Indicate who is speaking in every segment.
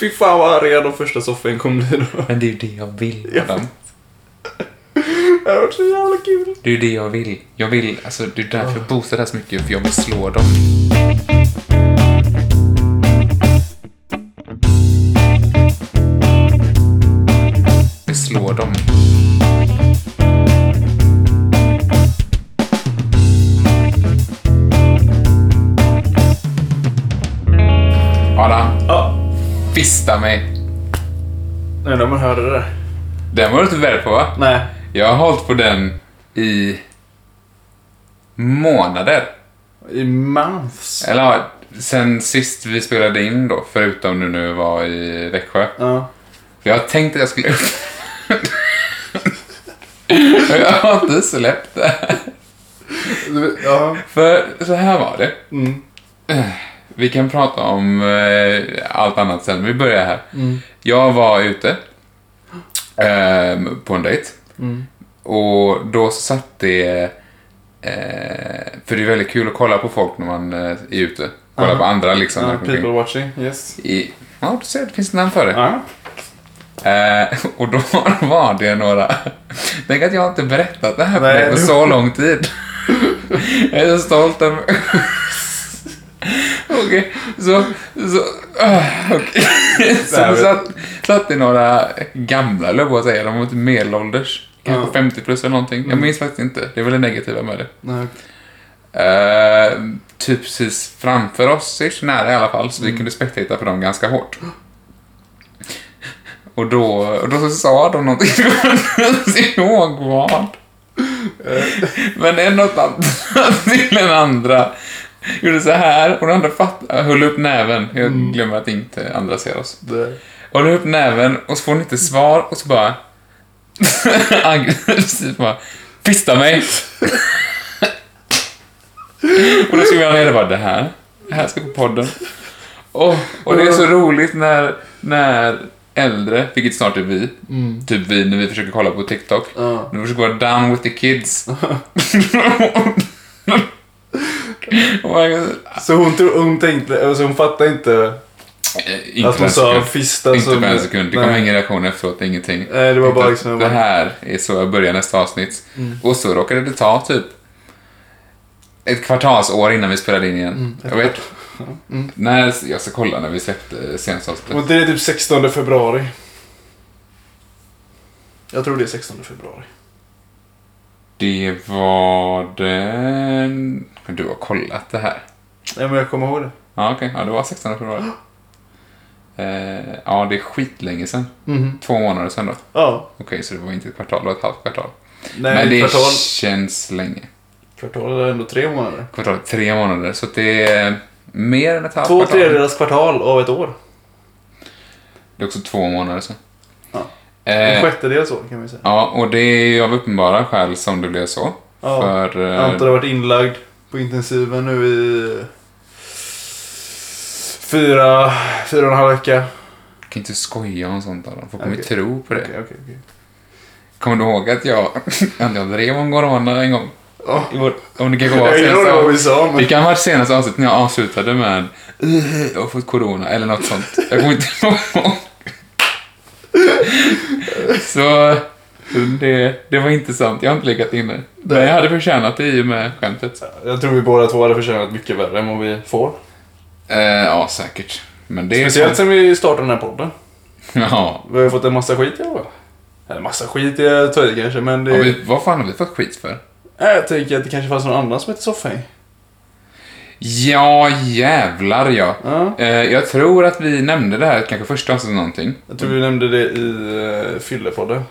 Speaker 1: Fy fan vad arga de första soffan kommer bli då.
Speaker 2: Men det är ju det jag vill med
Speaker 1: Ja.
Speaker 2: dem.
Speaker 1: Det har varit så jävla kul.
Speaker 2: Det är ju det jag vill. Jag vill, alltså det är därför jag boostar det här så mycket, för jag vill slå dem. Jag vill slå dem. Adam,
Speaker 1: Ja,
Speaker 2: fista mig.
Speaker 1: nej när man hörde det där.
Speaker 2: Den var du inte beredd på va?
Speaker 1: Nej.
Speaker 2: Jag har hållit på den i månader.
Speaker 1: I months.
Speaker 2: Eller ja, sen sist vi spelade in då, förutom nu när vi var i Växjö.
Speaker 1: Ja.
Speaker 2: För jag tänkte att jag skulle upp... jag har inte släppt det.
Speaker 1: Ja.
Speaker 2: För så här var det.
Speaker 1: Mm.
Speaker 2: Vi kan prata om eh, allt annat sen, men vi börjar här.
Speaker 1: Mm.
Speaker 2: Jag var ute ehm, på en dejt.
Speaker 1: Mm.
Speaker 2: Och då så satt det... Eh, för det är väldigt kul att kolla på folk när man eh, är ute. Kolla
Speaker 1: Ja.
Speaker 2: på andra liksom.
Speaker 1: Ja,
Speaker 2: runt omkring.
Speaker 1: people watching, yes.
Speaker 2: I, ja, du ser, det finns ett namn för det.
Speaker 1: Ja.
Speaker 2: Eh, och då var det några... Tänk att jag inte berättat det här för
Speaker 1: Nej,
Speaker 2: dig på
Speaker 1: du-
Speaker 2: så lång tid. jag är så stolt över... Okej, så... så ah, okej. Så
Speaker 1: Nej,
Speaker 2: satt, satt det några gamla, eller vad säger de? var inte medelålders. Kanske
Speaker 1: Ja.
Speaker 2: 50 plus eller någonting. Jag minns faktiskt inte. Det är väl det negativa med det.
Speaker 1: Nej.
Speaker 2: Eh, typ precis framför oss, ish, nära i alla fall, så vi kunde spektitta på dem ganska hårt. Och då, och då så sa de någonting, jag kommer inte ihåg vad. Men en av tanterna till den andra gjorde så här och den andra fatt, höll upp näven. Jag glömmer att inte andra ser oss.
Speaker 1: Det.
Speaker 2: Håller upp näven och så får hon inte svar och så bara... aggressivt bara... Pista mig! och då skrev jag ner det bara, det här. Det här ska på podden. Och, och det är så roligt när, när äldre, vilket snart är vi, typ vi när vi försöker kolla på TikTok,
Speaker 1: mm. Ja.
Speaker 2: när vi försöker vara down with the kids. och man,
Speaker 1: Så hon, tro- hon tänkte, alltså hon fattade inte
Speaker 2: inte
Speaker 1: att hon
Speaker 2: ens-
Speaker 1: sa fista
Speaker 2: Inte
Speaker 1: som-
Speaker 2: för en sekund. Det kom
Speaker 1: Alltså, Nej.
Speaker 2: ingen reaktion efteråt, ingenting.
Speaker 1: Nej, det var
Speaker 2: Inte
Speaker 1: bara
Speaker 2: att
Speaker 1: liksom- Mm.
Speaker 2: Det här är så jag börjar nästa avsnitt. Och så råkade det ta typ ett kvartalsår innan vi spelade in igen.
Speaker 1: Mm,
Speaker 2: jag vet. När, jag ska kolla när vi släppte senaste avsnittet.
Speaker 1: Och det är typ 16 februari. Jag tror det är 16 februari.
Speaker 2: Det var den... Du har kollat det här.
Speaker 1: Nej, men jag kommer ihåg det.
Speaker 2: Ja, okej. Ja, det var 16 februari. Eh, ja, det är skitlänge sedan.
Speaker 1: Mhm.
Speaker 2: Två månader sedan då. Okej,
Speaker 1: Ja.
Speaker 2: så det var inte ett kvartal, det var ett halvt kvartal.
Speaker 1: Nej,
Speaker 2: Men det
Speaker 1: kvartal.
Speaker 2: känns länge.
Speaker 1: Kvartal är ändå tre månader.
Speaker 2: kvartal, tre månader. Så att det är mer än ett halvt
Speaker 1: Två
Speaker 2: kvartal.
Speaker 1: tredjedels kvartal av ett år.
Speaker 2: Det är också två månader sen.
Speaker 1: Ja. En
Speaker 2: Eh,
Speaker 1: sjättedels år kan vi säga.
Speaker 2: ja, och det är ju av uppenbara skäl som det blev så.
Speaker 1: Ja.
Speaker 2: För, eh,
Speaker 1: Anton har varit inlagd på intensiven nu i fyra, fyra och en halv vecka.
Speaker 2: kan inte skoja om sånt Adam. Folk kommer
Speaker 1: Okej.
Speaker 2: tro på det.
Speaker 1: Okej, okej, okej.
Speaker 2: Kommer du ihåg att jag, att jag drev om corona en gång?
Speaker 1: Ja.
Speaker 2: I vår, om det kan komma
Speaker 1: Jag
Speaker 2: senast-
Speaker 1: gillar vad vi sa,
Speaker 2: Det
Speaker 1: men...
Speaker 2: kan ha varit senaste avsnittet när jag avslutade med "Eh, jag har fått corona eller något sånt. Jag kommer inte ihåg. Så det, det var inte sant. Jag har inte legat inne. Men jag hade förtjänat det i och med skämtet.
Speaker 1: Jag tror vi båda två hade förtjänat mycket värre än vad vi får.
Speaker 2: Eh, ja, säkert. Men det är
Speaker 1: Speciellt
Speaker 2: sånt.
Speaker 1: sen vi startade den här podden.
Speaker 2: Ja.
Speaker 1: Vi har ju fått en massa skit i alla fall. Eller massa skit i att ta i kanske, men det...
Speaker 2: Har vi, vad fan har vi fått skit för?
Speaker 1: Nej, Jag tänker att det kanske fanns någon annan som hette Soffhäng.
Speaker 2: Ja, jävlar ja.
Speaker 1: Ja.
Speaker 2: Eh, jag tror att vi nämnde det här kanske första avsnittet någonting.
Speaker 1: Jag tror vi nämnde det i uh, Fyllepodden.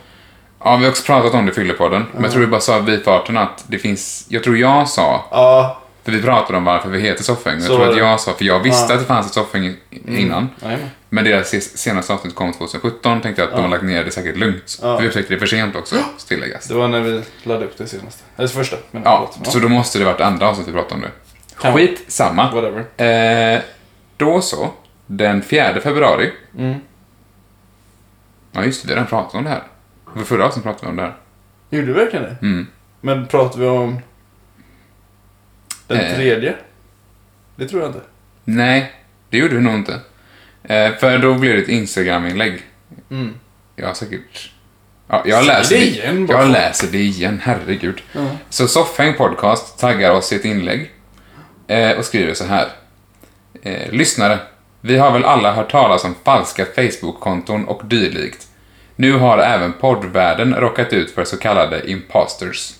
Speaker 2: Ja, vi har också pratat om det i Fyllepodden. Men jag tror vi bara sa vid farten att det finns... Jag tror jag sa
Speaker 1: Ja.
Speaker 2: För vi pratade om varför vi heter Soffhäng. Jag
Speaker 1: Så
Speaker 2: tror
Speaker 1: är
Speaker 2: att
Speaker 1: det.
Speaker 2: jag sa, för jag visste
Speaker 1: Ja. Mm.
Speaker 2: att det fanns ett Soffhäng i- innan.
Speaker 1: Jajamän.
Speaker 2: Men deras ses- senaste avsnitt kom 2017. Tänkte jag att de har lagt ner det säkert lugnt.
Speaker 1: Ja.
Speaker 2: För vi upptäckte det för sent också, tilläggas.
Speaker 1: Det var när vi laddade upp det senaste. Eller första, men
Speaker 2: Ja,
Speaker 1: förlåt.
Speaker 2: så då måste det varit andra avsnitt vi pratade om det.
Speaker 1: Kan vara.
Speaker 2: Skit samma.
Speaker 1: Whatever.
Speaker 2: Eh, då så, den 4 februari.
Speaker 1: Mm.
Speaker 2: Ja, just det, vi har redan pratat om det här. För förra avsnittet pratade vi om det här.
Speaker 1: Gjorde vi verkligen det?
Speaker 2: Mm.
Speaker 1: Men pratar vi om den
Speaker 2: Eh.
Speaker 1: Eh. tredje? Det tror jag inte.
Speaker 2: Nej, det gjorde vi nog inte. Eh, för då blev det ett Instagram-inlägg.
Speaker 1: Mm.
Speaker 2: Jag har säkert... Ja, jag
Speaker 1: Säg
Speaker 2: läser
Speaker 1: det
Speaker 2: det
Speaker 1: igen bara.
Speaker 2: Jag läser det igen, herregud.
Speaker 1: Ja.
Speaker 2: Så Soffhäng Podcast taggar oss i ett inlägg eh, och skriver så här. Eh, Lyssnare, vi har väl alla hört talas om falska Facebook-konton och dylikt. Nu har även poddvärlden råkat ut för så kallade imposters.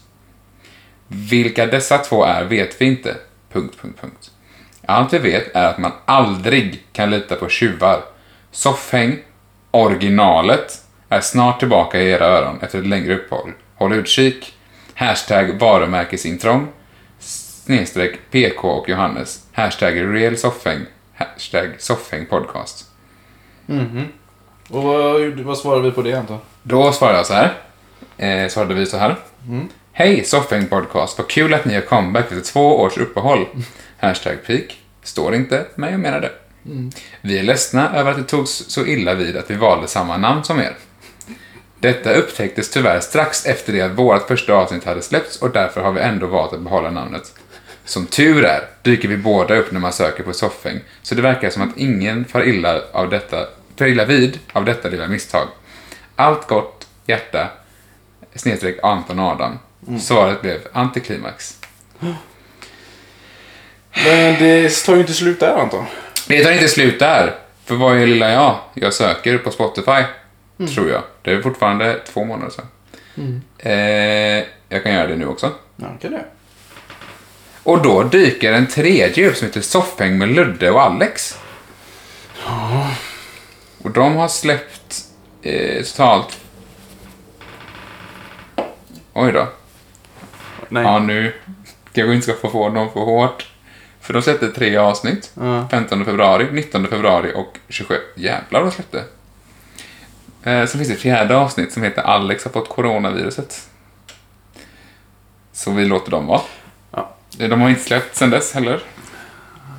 Speaker 2: Vilka dessa två är vet vi inte. Punkt, punkt, punkt. Allt vi vet är att man aldrig kan lita på tjuvar. Soffhäng, originalet, är snart tillbaka i era öron efter ett längre uppehåll. Håll utkik. Hashtag varumärkesintrång. Snedstreck PK och Johannes. Hashtag real soffhäng. Hashtag soffhäng podcast.
Speaker 1: Mhm. Och vad, vad svarar vi på det antar
Speaker 2: Då svarade jag så här. Eh, svarade vi så här. Hej Soffhäng Podcast, vad kul att ni har comeback efter två års uppehåll. Hashtag peak. Står inte, men jag menar det. Vi är ledsna över att det togs så illa vid att vi valde samma namn som er. Detta upptäcktes tyvärr strax efter det att vårt första avsnitt hade släppts och därför har vi ändå valt att behålla namnet. Som tur är dyker vi båda upp när man söker på Soffhäng, så det verkar som att ingen far illa, av detta, far illa vid av detta lilla misstag. Allt gott, hjärta, snedstreck Anton Adam. Svaret blev antiklimax.
Speaker 1: Men det tar ju inte slut där antar
Speaker 2: Det tar inte slut där. För vad är lilla jag? Jag söker på Spotify. Tror jag. Det är fortfarande två månader sedan. Eh, jag kan göra det nu också.
Speaker 1: Ja, kan det.
Speaker 2: Och då dyker en tredje upp som heter Soffhäng med Ludde och Alex. Och de har släppt eh, totalt... Oj då.
Speaker 1: Nej.
Speaker 2: Ja, nu kanske inte ska få få dem för hårt. För de släppte tre avsnitt.
Speaker 1: Ja.
Speaker 2: 15 februari, 19 februari och 27. Jävlar de släppte. Eh, sen finns det ett fjärde avsnitt som heter Alex har fått coronaviruset. Så vi låter dem vara.
Speaker 1: Ja.
Speaker 2: Eh, De har inte släppt sen dess heller.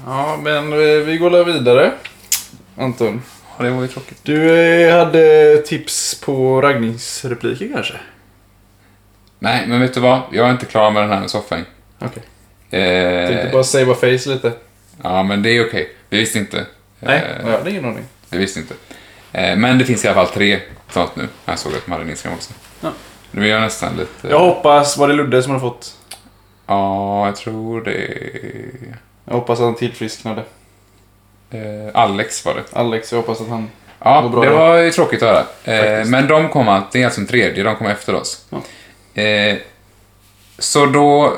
Speaker 1: ja, men eh, vi går la vidare. Anton.
Speaker 2: Ja, det var ju tråkigt.
Speaker 1: Du eh, hade tips på raggningsrepliker kanske?
Speaker 2: Nej, men vet du vad? Jag är inte klar med den här med soffan.
Speaker 1: Okej. Tänkte
Speaker 2: Eh,
Speaker 1: bara savea face lite.
Speaker 2: ja, men det är okej. Vi visste inte.
Speaker 1: Nej,
Speaker 2: Eh,
Speaker 1: jag hade ingen aning.
Speaker 2: Jag visste inte. Eh, men det finns i alla fall tre sånt nu. Jag såg att de hade en Instagram också.
Speaker 1: Ja.
Speaker 2: Nu är jag nästan lite...
Speaker 1: Jag hoppas, var det Ludde som har fått?
Speaker 2: Ja, jag tror det...
Speaker 1: Jag hoppas att han tillfrisknade.
Speaker 2: Eh, Alex var det.
Speaker 1: Alex, jag hoppas att han...
Speaker 2: Ja,
Speaker 1: Vad bra
Speaker 2: det
Speaker 1: det.
Speaker 2: var ju tråkigt att höra. Eh,
Speaker 1: Faktiskt.
Speaker 2: men de kom att, det är alltså en tredje, de kom efter oss. Eh, så då...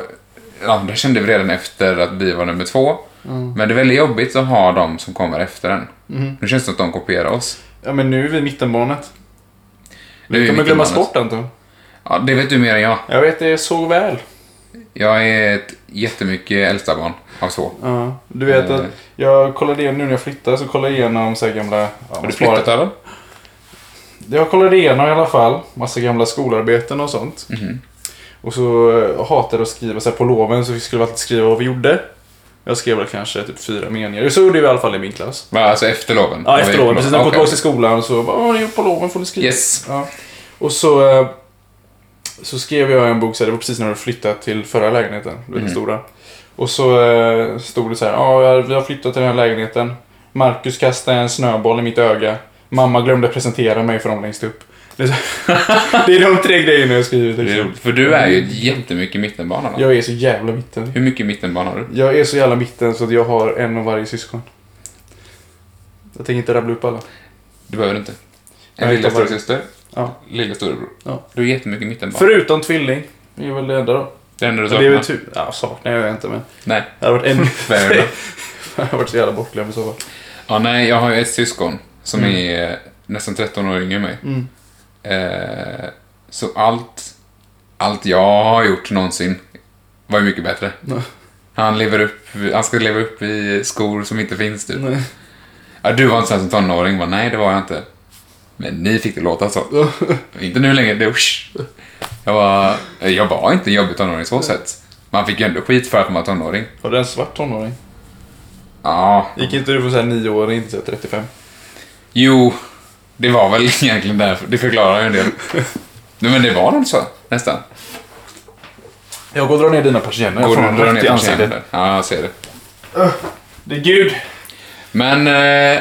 Speaker 2: Ja, det kände vi redan efter att vi var nummer två.
Speaker 1: Mm.
Speaker 2: Men det är väldigt jobbigt att ha de som kommer efter en.
Speaker 1: Mhm.
Speaker 2: Nu känns det som att de kopierar oss.
Speaker 1: Ja, men nu är vi i mittenbarnet.
Speaker 2: Nu är
Speaker 1: Vi kommer
Speaker 2: mitt
Speaker 1: glömmas
Speaker 2: innan oss.
Speaker 1: bort Anton.
Speaker 2: Ja, det vet du mer än jag.
Speaker 1: Jag vet det så väl.
Speaker 2: Jag är ett jättemycket äldsta barn av så.
Speaker 1: Ja, du vet
Speaker 2: Eh.
Speaker 1: att jag kollade igen nu när jag flyttade så kollade jag igenom så här gamla... Ja,
Speaker 2: Har
Speaker 1: man
Speaker 2: du
Speaker 1: sparar-
Speaker 2: flyttat över?
Speaker 1: Jag kollade igenom i alla fall. Massa gamla skolarbeten och sånt. Och så eh, hatade jag att skriva. Så här, på loven så skulle vi alltid skriva vad vi gjorde. Jag skrev väl kanske typ fyra meningar. Så gjorde vi i alla fall i min klass.
Speaker 2: Va, alltså efter loven?
Speaker 1: Ja, efter loven. Precis när jag kom
Speaker 2: Okej.
Speaker 1: tillbaka till skolan så bara, "Vad har ni gjort på loven får ni skriva.
Speaker 2: Yes.
Speaker 1: Ja. Och så, eh, så skrev jag en bok, så här, det var precis när du flyttat till förra lägenheten, du
Speaker 2: Mm.
Speaker 1: vet den stora. Och så eh, stod det så här, ja vi har flyttat till den här lägenheten. Marcus kastade en snöboll i mitt öga. Mamma glömde presentera mig för dem längst upp. Det är, så, det är de tre grejerna jag skrivit.
Speaker 2: Det är
Speaker 1: Liksom.
Speaker 2: roligt, För du är ju ett jättemycket mittenbarn. Anna.
Speaker 1: Jag är så jävla mitten.
Speaker 2: Hur mycket mittenbarn har du?
Speaker 1: Jag är så jävla mitten så att jag har en av varje syskon. Jag tänker inte rabbla upp alla.
Speaker 2: Du behöver inte. En
Speaker 1: Jag vet
Speaker 2: lilla
Speaker 1: inte.
Speaker 2: storasyster,
Speaker 1: Ja.
Speaker 2: lilla storebror.
Speaker 1: Ja.
Speaker 2: Du är jättemycket mittenbarn.
Speaker 1: Förutom tvilling. Det är väl det enda då.
Speaker 2: Det enda du
Speaker 1: Men det är väl
Speaker 2: saknar?
Speaker 1: tur. Ja, saknar jag inte men.
Speaker 2: Nej.
Speaker 1: Det hade varit ännu
Speaker 2: Fair enough.
Speaker 1: Jag har varit så jävla bortglömd i så fall.
Speaker 2: Ja, nej, jag har ju ett syskon som är eh, nästan 13 år yngre än mig.
Speaker 1: Mm.
Speaker 2: Eh, så allt, allt jag har gjort någonsin var ju mycket bättre.
Speaker 1: Nej.
Speaker 2: Han, lever upp, han ska leva upp i skor som inte finns typ.
Speaker 1: Nej.
Speaker 2: Ja, du var inte sån som tonåring, va? Nej, det var jag inte. Men ni fick det låta så. inte nu längre. Det, usch. jag, var, eh, jag var inte en jobbig tonåring så sett. Man fick ju ändå skit för att man var tonåring.
Speaker 1: Var du en svart tonåring?
Speaker 2: Ja,
Speaker 1: Gick inte du från såhär 9 år in till så här 35?
Speaker 2: jo. Det var väl egentligen därför. Det förklarar ju en del. Nej, men det var nog så, nästan.
Speaker 1: Jag går och drar ner dina persienner. Jag
Speaker 2: Går
Speaker 1: får
Speaker 2: du
Speaker 1: dem
Speaker 2: och drar
Speaker 1: rätt i
Speaker 2: ner persienner?
Speaker 1: ansiktet.
Speaker 2: där? Ja, jag ser det.
Speaker 1: Det är gud.
Speaker 2: Men eh,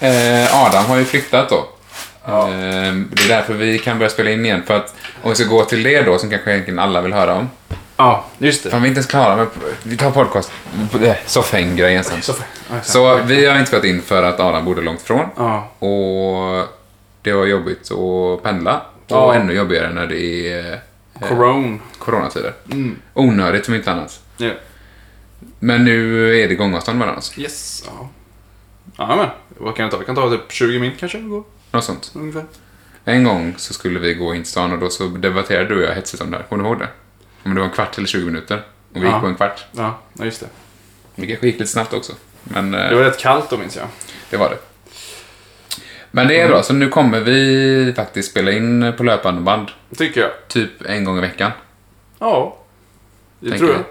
Speaker 2: eh, Adam har ju flyttat då.
Speaker 1: Ja.
Speaker 2: Eh, det är därför vi kan börja spela in igen. För att, om vi ska gå till det då, som kanske egentligen alla vill höra om.
Speaker 1: Ja, just det.
Speaker 2: Fan, vi är inte ens klara med... Vi tar podcast... Soffhäng-grejen sen.
Speaker 1: Så, ja, exakt.
Speaker 2: Så vi har inte spelat in för att Adam bodde långt ifrån.
Speaker 1: Ja.
Speaker 2: Och det var jobbigt att pendla. Och
Speaker 1: Ja.
Speaker 2: ännu jobbigare när det är eh,
Speaker 1: Corona.
Speaker 2: coronatider.
Speaker 1: Mm.
Speaker 2: Onödigt som inte annat.
Speaker 1: Ja.
Speaker 2: Men nu är det gångavstånd mellan oss.
Speaker 1: Yes. Ja. Ja, men. Vad kan jag ta? Jag kan ta typ 20 min kanske. Gå,
Speaker 2: Något sånt.
Speaker 1: ungefär.
Speaker 2: En gång så skulle vi gå in till stan och då så debatterade du och jag hetsigt om det här. Kommer du ihåg det? Om det var en kvart eller 20 minuter. Och vi gick
Speaker 1: Ja.
Speaker 2: på en kvart.
Speaker 1: Ja, ja, just det.
Speaker 2: Det kanske gick lite snabbt också. Men eh,
Speaker 1: Det var rätt kallt då minns jag.
Speaker 2: det var det. Men det är bra, så nu kommer vi faktiskt spela in på löpande band.
Speaker 1: Tycker jag.
Speaker 2: Typ en gång i veckan.
Speaker 1: Ja. Det
Speaker 2: tänker
Speaker 1: tror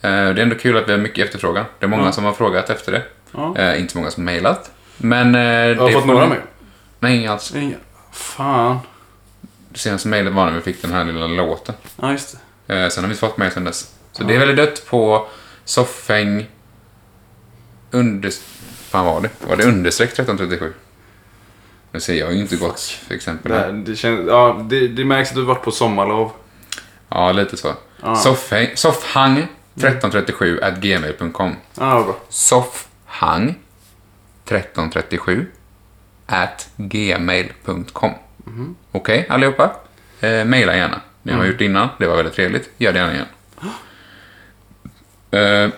Speaker 1: jag.
Speaker 2: jag. Eh, Det är ändå kul att vi har mycket efterfrågan. Det är många
Speaker 1: Ja.
Speaker 2: som har frågat efter det.
Speaker 1: Ja.
Speaker 2: Eh, Inte så många som har mejlat. Men... eh,
Speaker 1: Jag har
Speaker 2: det
Speaker 1: fått
Speaker 2: får-
Speaker 1: några med.
Speaker 2: Nej, inga alls.
Speaker 1: Inga. Fan.
Speaker 2: Det senaste mejlet var när vi fick den här lilla låten.
Speaker 1: Ja, just det.
Speaker 2: Eh, Sen har vi inte fått mejl sen dess. Så det är väldigt dött på soffäng... Under... Fan var det? Var det understreck 1337? Nu ser jag ju inte gott exempel
Speaker 1: Det, här,
Speaker 2: här.
Speaker 1: det, känns, ja, det, det märks att du varit på sommarlov.
Speaker 2: Ja, lite så.
Speaker 1: Ja.
Speaker 2: Soffhäng... Soffhang 1337 at gmail.com
Speaker 1: Ja, vad bra.
Speaker 2: soffhang 1337 at gmail.com. Okej, allihopa? Eh, maila gärna. Ni har gjort det innan, det var väldigt trevligt. Gör det gärna igen. Eh,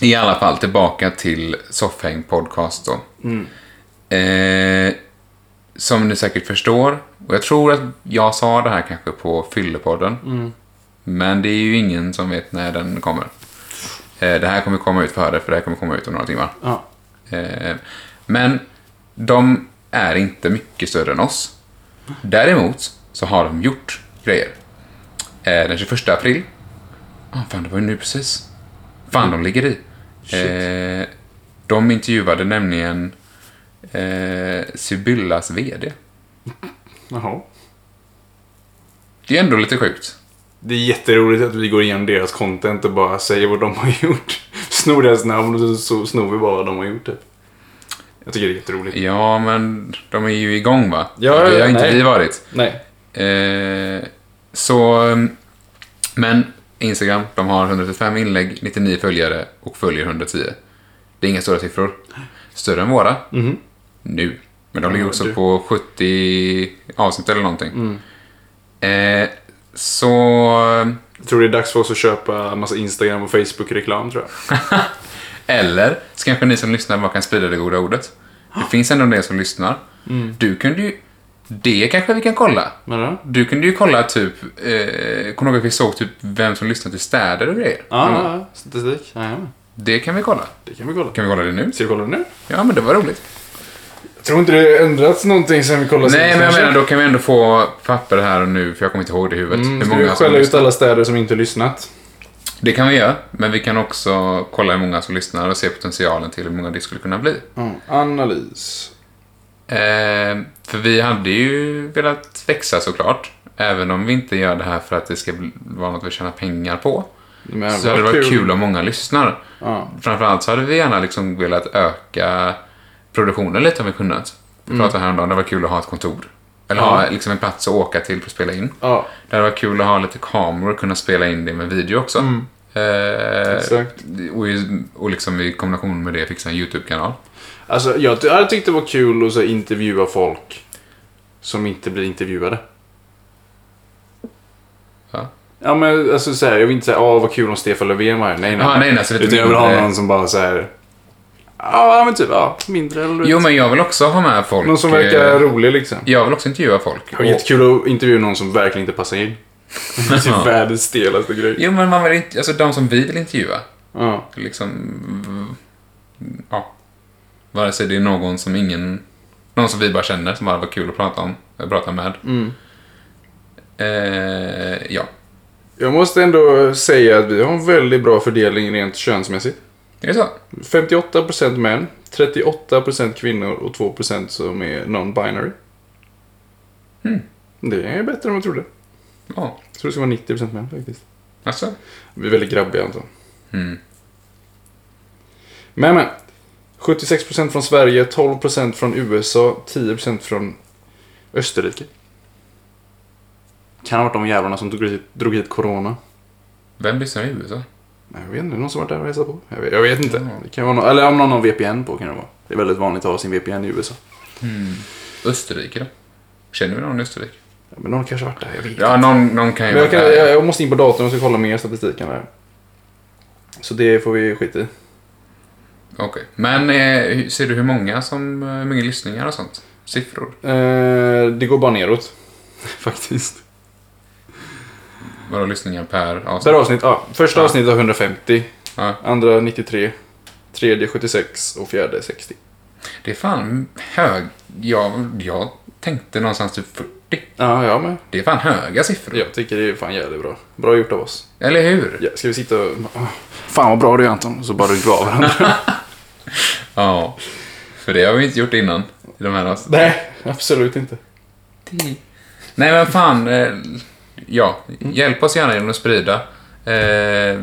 Speaker 2: I alla fall, tillbaka till Soffhäng Podcast då. Eh, som ni säkert förstår, och jag tror att jag sa det här kanske på Fyllepodden, men det är ju ingen som vet när den kommer. Eh, Det här kommer komma ut före, för det här kommer komma ut om några timmar.
Speaker 1: Ja.
Speaker 2: Eh, Men de är inte mycket större än oss. Däremot så har de gjort grejer. Eh, Den 21 april. Ah, fan, det var ju nu precis. Fan, de ligger
Speaker 1: Mm.
Speaker 2: i. Eh, De intervjuade nämligen eh, Sibyllas VD.
Speaker 1: Jaha.
Speaker 2: Det är ändå lite sjukt.
Speaker 1: Det är jätteroligt att vi går igenom deras content och bara säger vad de har gjort. Snor deras namn och så- så snor vi bara vad de har gjort. Typ. Jag tycker det är jätteroligt.
Speaker 2: Ja, men de är ju igång va?
Speaker 1: Ja,
Speaker 2: det
Speaker 1: ja,
Speaker 2: har inte
Speaker 1: nej.
Speaker 2: vi varit.
Speaker 1: Nej.
Speaker 2: Eh, så... mm, Men Instagram, de har 135 inlägg, 99 följare och följer 110. Det är inga stora siffror. Större än våra. Nu. Men de ligger
Speaker 1: Mhm. Ja,
Speaker 2: också
Speaker 1: du. Mm.
Speaker 2: på 70 avsnitt eller någonting. Eh, så...
Speaker 1: Jag tror det är dags för oss att köpa en massa Instagram och Facebook-reklam tror jag.
Speaker 2: Eller så kanske ni som lyssnar bara kan sprida det goda ordet.
Speaker 1: Ah.
Speaker 2: Det finns ändå de som lyssnar.
Speaker 1: Mm.
Speaker 2: Du kunde ju... Det kanske vi kan kolla.
Speaker 1: Men ja.
Speaker 2: Du kunde ju kolla typ, eh, kommer du ihåg att vi såg typ vem som lyssnar till städer och grejer?
Speaker 1: Ja,
Speaker 2: Mm.
Speaker 1: ja, ja. statistik. Ja, ja.
Speaker 2: Det kan vi kolla.
Speaker 1: Det kan vi kolla.
Speaker 2: Kan vi kolla det nu?
Speaker 1: Ska vi kolla nu?
Speaker 2: Ja, men det var roligt.
Speaker 1: Jag tror inte det har ändrats någonting sen vi kollade
Speaker 2: Nej, men jag menar då kan vi ändå få papper här och nu, för jag kommer inte ihåg det i huvudet.
Speaker 1: Mm,
Speaker 2: hur
Speaker 1: ska vi
Speaker 2: många som
Speaker 1: skälla ut
Speaker 2: lyssnar.
Speaker 1: alla städer som inte lyssnat?
Speaker 2: Det kan vi göra, men vi kan också kolla hur många som lyssnar och se potentialen till hur många det skulle kunna bli.
Speaker 1: Analys.
Speaker 2: Eh, för vi hade ju velat växa såklart. Även om vi inte gör det här för att det ska bli- vara något vi tjänar pengar på.
Speaker 1: Men
Speaker 2: Så hade det
Speaker 1: vad
Speaker 2: varit kul om många lyssnar.
Speaker 1: Ja.
Speaker 2: Framförallt så hade vi gärna liksom velat öka produktionen lite om vi kunnat. Vi
Speaker 1: Mm.
Speaker 2: pratade häromdagen, det var kul att ha ett kontor. Eller ha liksom en plats att åka till för att spela in.
Speaker 1: Ja,
Speaker 2: Det hade varit kul att ha lite kameror och kunna spela in det med video också.
Speaker 1: Mm.
Speaker 2: Eh,
Speaker 1: exakt.
Speaker 2: och, i- och liksom i kombination med det fixa en YouTube-kanal.
Speaker 1: Alltså, jag ty- hade tyckt det var kul att så, här intervjua folk som inte blir intervjuade.
Speaker 2: Va?
Speaker 1: Ja, men alltså så här, jag vill inte säga åh vad kul om Stefan Löfven var här. Nej, nej.
Speaker 2: Ja, nej, alltså nej, så lite
Speaker 1: Utan jag vill ha
Speaker 2: mindre-
Speaker 1: någon som bara så här. Ja, men typ, ja, mindre eller
Speaker 2: Jo, men jag vill också ha med folk.
Speaker 1: Någon som verkar
Speaker 2: eh,
Speaker 1: rolig liksom.
Speaker 2: Jag vill också intervjua folk.
Speaker 1: Det var jättekul att intervjua någon som verkligen inte passar in. Det är
Speaker 2: Ja.
Speaker 1: typ världens stelaste grej.
Speaker 2: Jo, men man vill inte, alltså de som vi vill intervjua.
Speaker 1: Ja.
Speaker 2: Liksom, mm, ja. Vare sig det är någon som ingen, någon som vi bara känner som bara var kul att prata om, eh, prata med.
Speaker 1: Mm.
Speaker 2: Eh, ja,
Speaker 1: Jag måste ändå säga att vi har en väldigt bra fördelning rent könsmässigt.
Speaker 2: är det så?
Speaker 1: 58% män, 38% kvinnor och 2% som är non-binary. Hmm. Det är bättre än vad jag trodde.
Speaker 2: Ja,
Speaker 1: Jag tror det ska vara 90% män faktiskt.
Speaker 2: alltså.
Speaker 1: Hmm. Vi är väldigt grabbiga Anton. Men men. 76% från Sverige, 12% från USA, 10% från Österrike. Kan ha varit de jävlarna som drog hit, drog hit corona.
Speaker 2: Vem lyssnar i USA?
Speaker 1: Nej, Jag vet inte, någon som varit där och hälsat på? Jag vet, jag vet inte.
Speaker 2: Ja.
Speaker 1: Det kan vara någon, eller om någon har VPN på kan det vara. Det är väldigt vanligt att ha sin VPN i USA.
Speaker 2: Österrike då? Känner vi någon i Österrike?
Speaker 1: Ja, Men någon kanske har varit där, jag vet inte.
Speaker 2: Ja, någon, någon kan ju
Speaker 1: Men jag, kan,
Speaker 2: vara där.
Speaker 1: jag, jag måste in på datorn och ska kolla mer statistiken där. Så det får vi skita i.
Speaker 2: Okej. Men eh, hur- ser du hur många som... eh, Hur många lyssningar och sånt? Siffror?
Speaker 1: Eh, det går bara neråt. Faktiskt.
Speaker 2: Vadå lyssningar per
Speaker 1: Per
Speaker 2: avsnitt?
Speaker 1: avsnitt, ja. Första
Speaker 2: Ja.
Speaker 1: avsnittet var 150.
Speaker 2: Ja.
Speaker 1: Andra 93. Tredje 76 och fjärde 60.
Speaker 2: Det är fan hög... Jag, jag tänkte någonstans typ 40.
Speaker 1: Ja, jag med.
Speaker 2: Det är fan höga siffror.
Speaker 1: Jag tycker det är fan jävligt bra. Bra gjort av oss.
Speaker 2: Eller hur?
Speaker 1: Ja, ska vi sitta och... Ah, Fan vad bra du är Anton. Och så bara dra av varandra.
Speaker 2: Ja. För det har vi inte gjort innan. I de här avsnitten.
Speaker 1: Nej, absolut inte.
Speaker 2: Nej men fan. eh, Ja, hjälp oss gärna genom att sprida. Eh,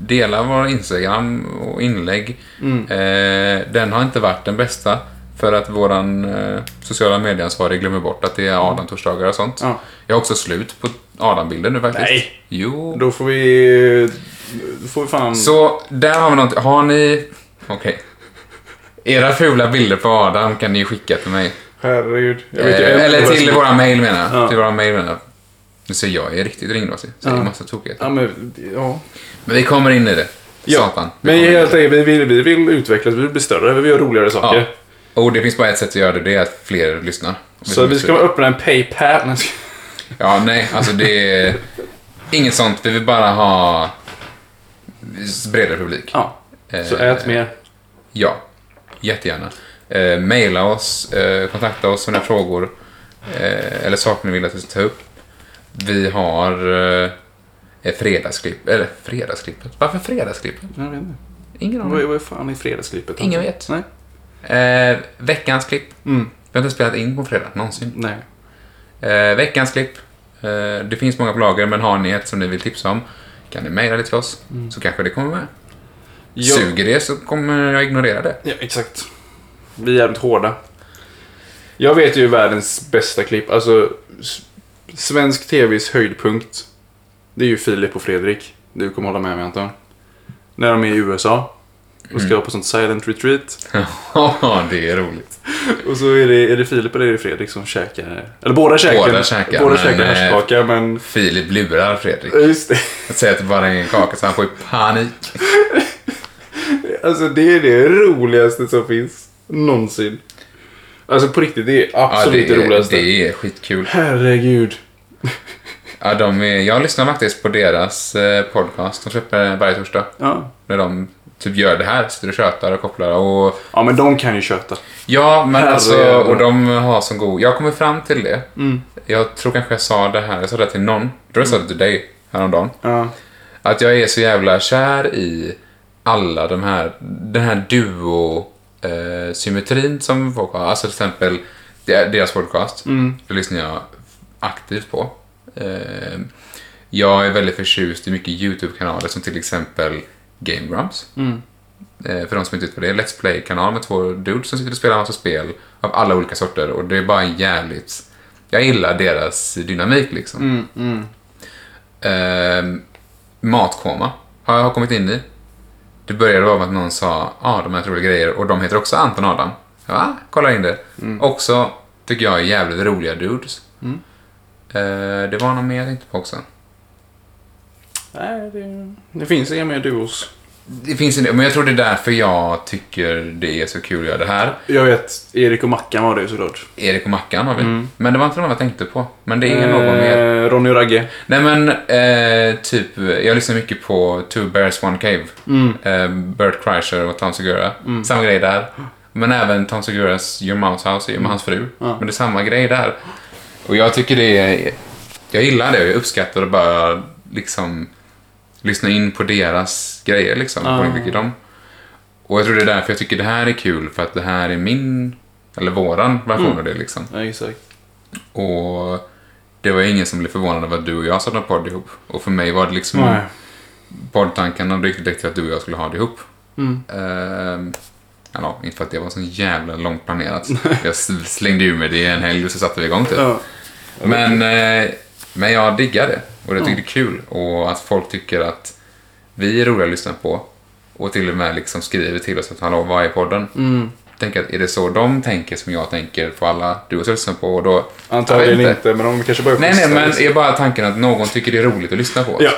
Speaker 2: dela vår Instagram och inlägg.
Speaker 1: Mm.
Speaker 2: Eh, den har inte varit den bästa. För att våran eh, sociala medieansvarig glömmer bort att det är Adam-torsdagar och sånt.
Speaker 1: Mm. Ja.
Speaker 2: Jag är också slut på Adam-bilden nu faktiskt.
Speaker 1: Nej.
Speaker 2: Jo.
Speaker 1: Då får vi... Då får vi fan...
Speaker 2: Mm. Så där har vi något. Har ni... Okej. Era fula bilder på Adam kan ni ju skicka till mig.
Speaker 1: Herregud. Jag
Speaker 2: Eh,
Speaker 1: vet ju en-
Speaker 2: eller till våra mejl menar jag.
Speaker 1: Ja.
Speaker 2: Till våra mejl menar jag. Nu ser jag är riktigt ringrosig. Så det är
Speaker 1: Ja.
Speaker 2: massa tokigheter.
Speaker 1: Ja, men... Ja.
Speaker 2: Men vi kommer in i det. Satan. Vi
Speaker 1: Men
Speaker 2: kommer in i
Speaker 1: helt enkelt, vi vill, vi vill utvecklas, vi vill bli större, vi vill göra roligare
Speaker 2: det.
Speaker 1: saker.
Speaker 2: Ja. Och det finns bara ett sätt att göra det. Det är att fler lyssnar.
Speaker 1: Så vi ska öppna en Paypal. Nej, jag ska-
Speaker 2: Ja, nej. Alltså det är... Inget sånt. Vi vill bara ha... Bredare publik.
Speaker 1: Ja. Så
Speaker 2: Eh,
Speaker 1: ät mer.
Speaker 2: Ja, jättegärna. Eh, maila oss, eh, kontakta oss med några frågor eh, eller saker ni vill att vi ska ta upp. Vi har eh, ett fredagsklipp, eller fredagsklippet. Varför fredagsklippet?
Speaker 1: Jag vet inte.
Speaker 2: Ingen
Speaker 1: Vad,
Speaker 2: aning.
Speaker 1: vad fan är fredagsklippet?
Speaker 2: Ingen vet.
Speaker 1: Nej.
Speaker 2: Eh, veckans klipp.
Speaker 1: Mm.
Speaker 2: Vi har inte spelat in på fredag någonsin.
Speaker 1: Nej.
Speaker 2: Eh, veckans klipp. Eh, det finns många på lager, men har ni ett som ni vill tipsa om kan ni mejla det till oss så kanske det kommer med.
Speaker 1: Jag,
Speaker 2: Suger det så kommer jag ignorera det.
Speaker 1: Ja, exakt. Vi är jävligt hårda. Jag vet ju världens bästa klipp. Alltså, s- svensk TVs höjdpunkt. Det är ju Filip och Fredrik. Du kommer hålla med mig Anton. När de är i USA. Och ska på sånt silent retreat.
Speaker 2: Ja, det är roligt.
Speaker 1: Och så är det, är det Filip eller är det Fredrik som käkar? Eller båda käkar.
Speaker 2: Båda käkar,
Speaker 1: Båda
Speaker 2: men,
Speaker 1: käkar
Speaker 2: eh,
Speaker 1: haschkaka men...
Speaker 2: Filip lurar Fredrik.
Speaker 1: Ja, Just det.
Speaker 2: Jag säger att det bara är en kaka så han får ju panik.
Speaker 1: Alltså det är det roligaste som finns. Någonsin. Alltså på riktigt, det är absolut
Speaker 2: det,
Speaker 1: det,
Speaker 2: är-
Speaker 1: roligaste.
Speaker 2: det är skitkul.
Speaker 1: Herregud.
Speaker 2: Ja, de är, jag lyssnar faktiskt på deras eh, podcast. De släpper varje torsdag.
Speaker 1: Ja.
Speaker 2: När de typ gör det här. Sitter och tjötar och kopplar. Och,
Speaker 1: ja, men de kan ju köta.
Speaker 2: ja, men
Speaker 1: Herre
Speaker 2: alltså,
Speaker 1: jävlar.
Speaker 2: och de har som god... Jag kommer fram till det. Jag tror kanske jag sa det här. Jag sa det till någon. Jag tror jag sa det till dig häromdagen.
Speaker 1: Ja.
Speaker 2: Att jag är så jävla kär i alla de här, den här duo-symmetrin som folk har. Alltså till exempel de- deras podcast. Det lyssnar jag aktivt på. Eh, jag är väldigt förtjust i mycket YouTube-kanaler som till exempel Game Grumps. Eh, för de som inte vet vad det är, Let's Play-kanal med två dudes som sitter och spelar en massa spel av alla olika sorter. Och det är bara en jävligt... Jag gillar deras dynamik liksom. Ehm, matkoma har jag kommit in i. Det började vara med att någon sa ah, de här roliga grejer och de heter också Anton och Adam. Jag bara, ah, kolla in det. Också tycker jag är jävligt roliga dudes. Ehm, det var någon mer jag tänkte på också.
Speaker 1: Nej, det, det finns inga mer duos.
Speaker 2: Det finns en del, men jag tror det är därför jag tycker det är så kul att göra det här.
Speaker 1: Jag vet, Erik och Mackan var det ju såklart.
Speaker 2: Erik och Mackan har vi. Men det var inte någon jag tänkte på. Men det är någon mer.
Speaker 1: Eh, Ronny och Ragge.
Speaker 2: Nej men, eh, typ, jag lyssnar mycket på Two Bears One Cave. Eh, Bert Kreischer och Tom Segura. Samma grej där. Men även Tom Seguras Your Mouse House, med hans fru. Men det är samma grej där. Och jag tycker det är... Jag gillar det och jag uppskattar att bara liksom lyssna in på deras grejer liksom. På
Speaker 1: Ah.
Speaker 2: vad jag tycker de. Och jag tror det är därför jag tycker det här är kul, för att det här är min, eller våran version av det liksom.
Speaker 1: Ja, exakt.
Speaker 2: Och det var ingen som blev förvånad över att du och jag satt en podd ihop. Och för mig var det liksom
Speaker 1: Nej.
Speaker 2: poddtankarna dök direkt till att du och jag skulle ha det ihop.
Speaker 1: Mm.
Speaker 2: Ehm, Eller inte för att det var så jävla långt planerat. jag slängde ur mig det en helg och så satte vi igång typ.
Speaker 1: Ja.
Speaker 2: Men, eh, men jag diggar det och jag tycker det är kul och att folk tycker att vi är roliga att lyssna på och till och med liksom skriver till oss att hallå, vad är podden?
Speaker 1: Mm.
Speaker 2: Tänk att är det så de tänker som jag tänker på alla du har lyssnat på och då... Jag
Speaker 1: Antagligen
Speaker 2: vet
Speaker 1: inte, men de kanske börjar
Speaker 2: Nej, nej,
Speaker 1: schyssta,
Speaker 2: men
Speaker 1: liksom.
Speaker 2: är bara tanken att någon tycker det är roligt att lyssna på oss.
Speaker 1: Ja.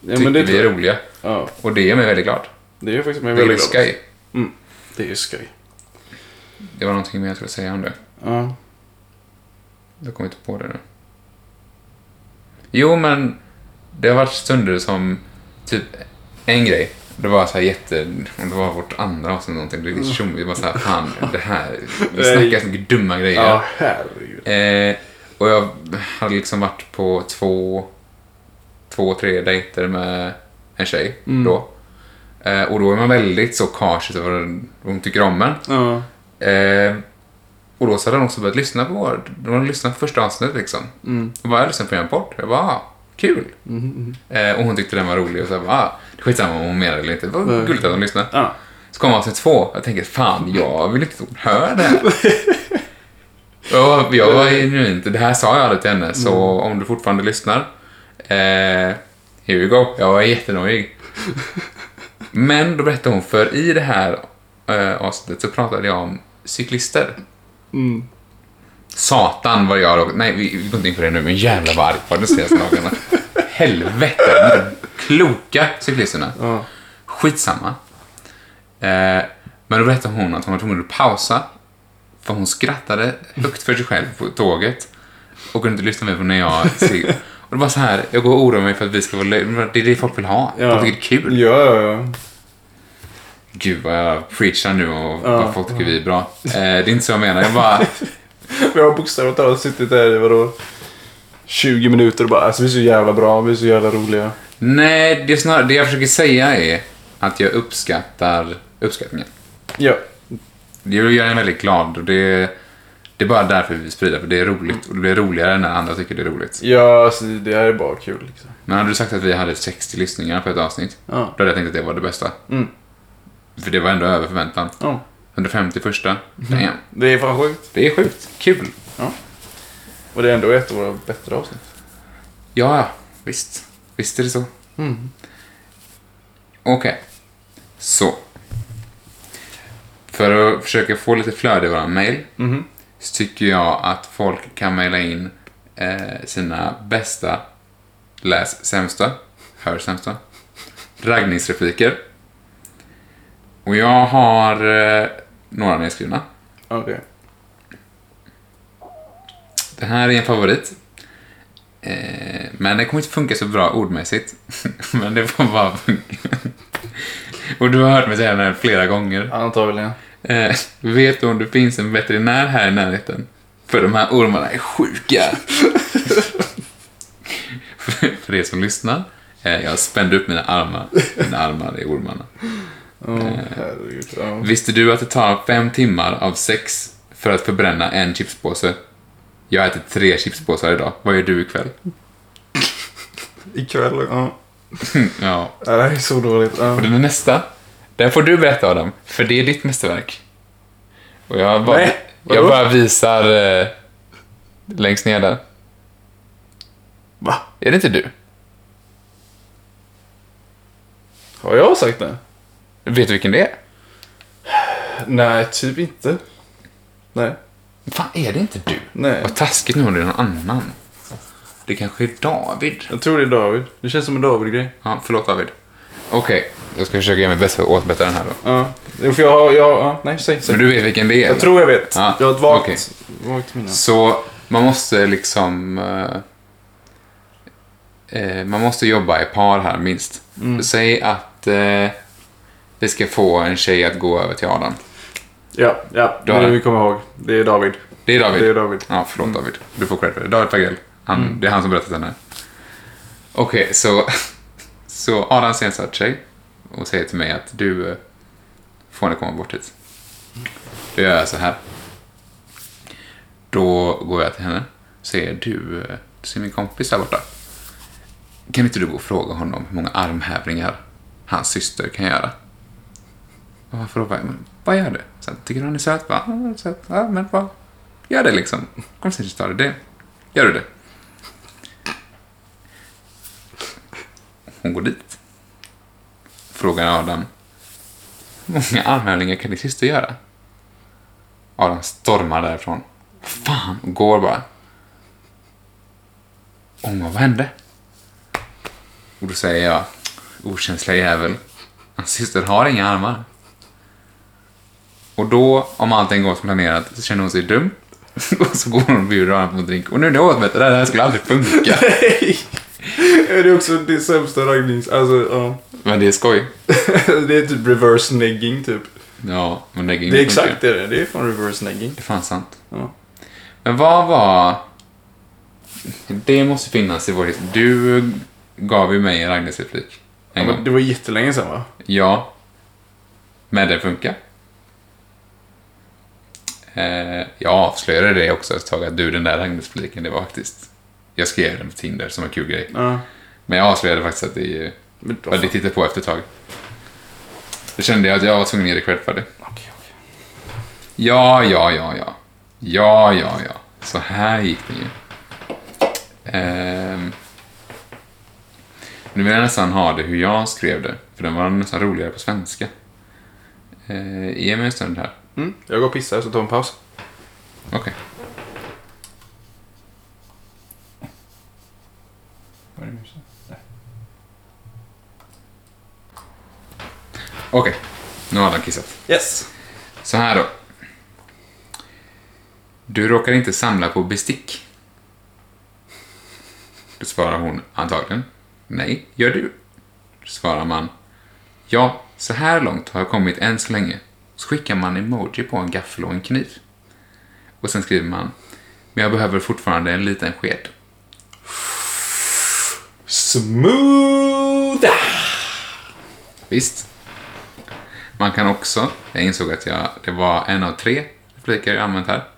Speaker 1: ja
Speaker 2: Tycker
Speaker 1: men det,
Speaker 2: vi är roliga.
Speaker 1: ja,
Speaker 2: Och det gör mig väldigt glad.
Speaker 1: det är ju faktiskt mig
Speaker 2: Det är
Speaker 1: väldigt
Speaker 2: väldigt
Speaker 1: glad.
Speaker 2: skoj.
Speaker 1: Mm. Det är ju skoj.
Speaker 2: Det var någonting mer jag skulle säga om det.
Speaker 1: Ja.
Speaker 2: Jag kommer inte på det nu. Jo, men det har varit stunder som typ en grej. Det var så här jätte... om Det var vårt andra avsnitt eller någonting. Det är tjom, vi var så här, fan, det här... Vi snackar så mycket dumma grejer.
Speaker 1: Ja, herregud.
Speaker 2: Eh, och jag hade liksom varit på två, två tre dejter med en tjej då. Eh, och då är man väldigt så cautious över vad hon tycker om en.
Speaker 1: Ja.
Speaker 2: Eh, och då så hade de också börjat lyssna på vår... De hade lyssnat på första avsnittet liksom.
Speaker 1: Mm.
Speaker 2: Och bara, jag lyssnade på en podd. Jag bara, ah, kul. Eh, och hon tyckte den var rolig och så jag bara, ah, det är skitsamma om hon menar det eller inte. Det var
Speaker 1: Nej.
Speaker 2: gulligt att de lyssnade.
Speaker 1: Ja.
Speaker 2: Så kom avsnitt två. Jag tänker, fan, jag vill inte att hon hör det här. och jag var genuint, det här sa jag aldrig till henne, så om du fortfarande lyssnar, eh, here you go. Jag var jättenojig. Men då berättade hon, för i det här eh, avsnittet så pratade jag om cyklister.
Speaker 1: Mm.
Speaker 2: Satan vad jag råkade... Nej, vi vi går inte in på det nu, men jävla vad arg jag var de senaste dagarna. Helvete, de här kloka cyklisterna.
Speaker 1: Ja.
Speaker 2: Skitsamma. Eh, men då berättade hon att hon var tvungen att pausa. För hon skrattade högt för sig själv på tåget. Och kunde inte lyssna med på när jag... cykl- Och det var så här, jag går och oroar mig för att vi ska vara löj- men Det är det folk vill ha.
Speaker 1: Ja.
Speaker 2: De tycker det är kul.
Speaker 1: Ja, ja, ja.
Speaker 2: Gud vad jag preachar nu och
Speaker 1: Ja.
Speaker 2: vad folk tycker vi är bra. Eh, det är inte så jag menar. Jag bara...
Speaker 1: Vi har bokstavligt talat suttit där i vadå? 20 minuter och bara alltså vi är så jävla bra, vi är så jävla roliga.
Speaker 2: Nej, det, är snarare, det jag försöker säga är att jag uppskattar uppskattningen.
Speaker 1: Ja.
Speaker 2: Det gör en väldigt glad och det, det är bara därför vi sprider för det är roligt. Och det blir roligare när andra tycker det är roligt.
Speaker 1: Ja, alltså det här är bara kul liksom.
Speaker 2: Men hade du sagt att vi hade 60 lyssningar på ett avsnitt,
Speaker 1: Ja.
Speaker 2: då hade jag tänkt att det var det bästa.
Speaker 1: Mm.
Speaker 2: För det var ändå över förväntan.
Speaker 1: ja.
Speaker 2: 150 första,
Speaker 1: Mhm.
Speaker 2: damn.
Speaker 1: Det är fan sjukt.
Speaker 2: Det är sjukt. Kul.
Speaker 1: Och det är ändå ett av våra bättre avsnitt.
Speaker 2: Ja, ja. visst. Visst är det så.
Speaker 1: Mm.
Speaker 2: Okej. Så. För att försöka få lite flöde i våra mejl
Speaker 1: Mhm.
Speaker 2: så tycker jag att folk kan mejla in eh, sina bästa, läs sämsta, hör sämsta, raggningsrepliker. Och jag har eh, några nedskrivna.
Speaker 1: Okej.
Speaker 2: Det här är en favorit. Eh, men det kommer inte funka så bra ordmässigt. men det får bara funka. Och du har hört mig säga den här flera gånger.
Speaker 1: Antagligen.
Speaker 2: Eh, vet du om det finns en veterinär här i närheten? För de här ormarna är sjuka. för, för er som lyssnar, eh, jag spände upp mina armar. Mina armar är ormarna.
Speaker 1: Ja, herregud. Ja.
Speaker 2: Visste du att det tar fem timmar av sex för att förbränna en chipspåse? Jag äter tre chipspåsar idag. Vad gör du ikväll?
Speaker 1: Ikväll, ja.
Speaker 2: Ja.
Speaker 1: Ja, Det här är så dåligt. Ja.
Speaker 2: Och den nästa, den får du berätta Adam, för det är ditt mästerverk. Och jag bara,
Speaker 1: Nej, vadå?
Speaker 2: jag bara visar eh, längst ner där.
Speaker 1: Va?
Speaker 2: Är det inte du?
Speaker 1: Har jag sagt det?
Speaker 2: Vet du vilken det är?
Speaker 1: Nej, typ inte. Nej.
Speaker 2: Fan, är det inte du?
Speaker 1: Nej.
Speaker 2: Vad taskigt nu om det är någon annan. Det kanske är David.
Speaker 1: Jag tror det är David. Det känns som en David-grej.
Speaker 2: Ja, förlåt David. Okej, jag ska försöka göra mitt bästa för att återbättra den här då.
Speaker 1: Ja. Jo, för jag har... Jag, ja. Nej, säg. säg.
Speaker 2: Men du vet vilken det är?
Speaker 1: Jag
Speaker 2: eller?
Speaker 1: tror jag vet.
Speaker 2: Ja,
Speaker 1: Jag har ett vagt,
Speaker 2: okej.
Speaker 1: vagt minne.
Speaker 2: Så man måste liksom... eh, Eh, man måste jobba i par här minst. Säg att eh, vi ska få en tjej att gå över till Adam.
Speaker 1: Ja, ja.
Speaker 2: Du har
Speaker 1: nu
Speaker 2: det.
Speaker 1: kommer jag ihåg. Det är David.
Speaker 2: Det är David.
Speaker 1: Det är David.
Speaker 2: Ja, förlåt David. Du får cred för det. David Fagrell. Han, Det är han som berättat den här. Okej, så, så Adam ser en svart tjej och säger till mig att du eh, får ni komma bort hit. Då gör jag så här. Då går jag till henne och säger du, eh, du ser min kompis där borta. Kan inte du gå och fråga honom hur många armhävningar hans syster kan göra? Och Varför då? Bara, "Men Bara gör det. Så här, tycker du han är söt? Bara, ja, han är söt. Ja, men bara, gör det liksom. Kom sen så tar du det. Gör du det? Hon går dit. Frågar Adam. Hur många armhävningar kan din syster göra? Adam stormar därifrån. Fan! Och går bara. Och hon bara, vad hände? Och då säger jag, okänsliga jävel. Hans syster har inga armar. Och då, om allting går som planerat, så känner hon sig dum. Och så går hon och bjuder honom på en drink. Och nu är det återmätt, det där det här skulle aldrig funka.
Speaker 1: det är också det sämsta raggnings... Alltså, ja.
Speaker 2: Men det är skoj.
Speaker 1: det är typ reverse negging, typ.
Speaker 2: Ja, men det är
Speaker 1: Det är exakt det det är. Det är fan reverse negging.
Speaker 2: Det är fan sant.
Speaker 1: Ja.
Speaker 2: Men vad var... Det måste finnas i vår historia. Du gav ju mig en Ragnhilds-replik.
Speaker 1: Ja,
Speaker 2: En
Speaker 1: men
Speaker 2: gång.
Speaker 1: det var jättelänge sedan, va?
Speaker 2: Ja. Men det funkar. Eh, jag avslöjade det också ett tag, att du, den där Ragnhilds-repliken, det var faktiskt... Jag skrev den på Tinder som en kul grej.
Speaker 1: Ja.
Speaker 2: Men jag avslöjade faktiskt att det eh,
Speaker 1: Men,
Speaker 2: vad det tittade på efter ett tag. Då kände jag att jag var tvungen att ge dig cred för det.
Speaker 1: Okej, okej.
Speaker 2: Ja, ja, ja, ja. Ja, ja, ja. Så här gick det ju. Ehm. Nu vill jag nästan ha det hur jag skrev det, för den var nästan roligare på svenska. Eh, ge mig en stund här.
Speaker 1: Mm, jag går och pissar så tar vi en paus.
Speaker 2: Okej. Okej. Nu har han kissat.
Speaker 1: Yes.
Speaker 2: Så här då. Du råkar inte samla på bestick? Då svarar hon antagligen. Nej, gör du? Då svarar man. Ja, så här långt har jag kommit än så länge. Så skickar man emoji på en gaffel och en kniv. Och sen skriver man. Men jag behöver fortfarande en liten sked.
Speaker 1: Smooth!
Speaker 2: Visst. Man kan också, jag insåg att jag, det var en av tre repliker jag använt här.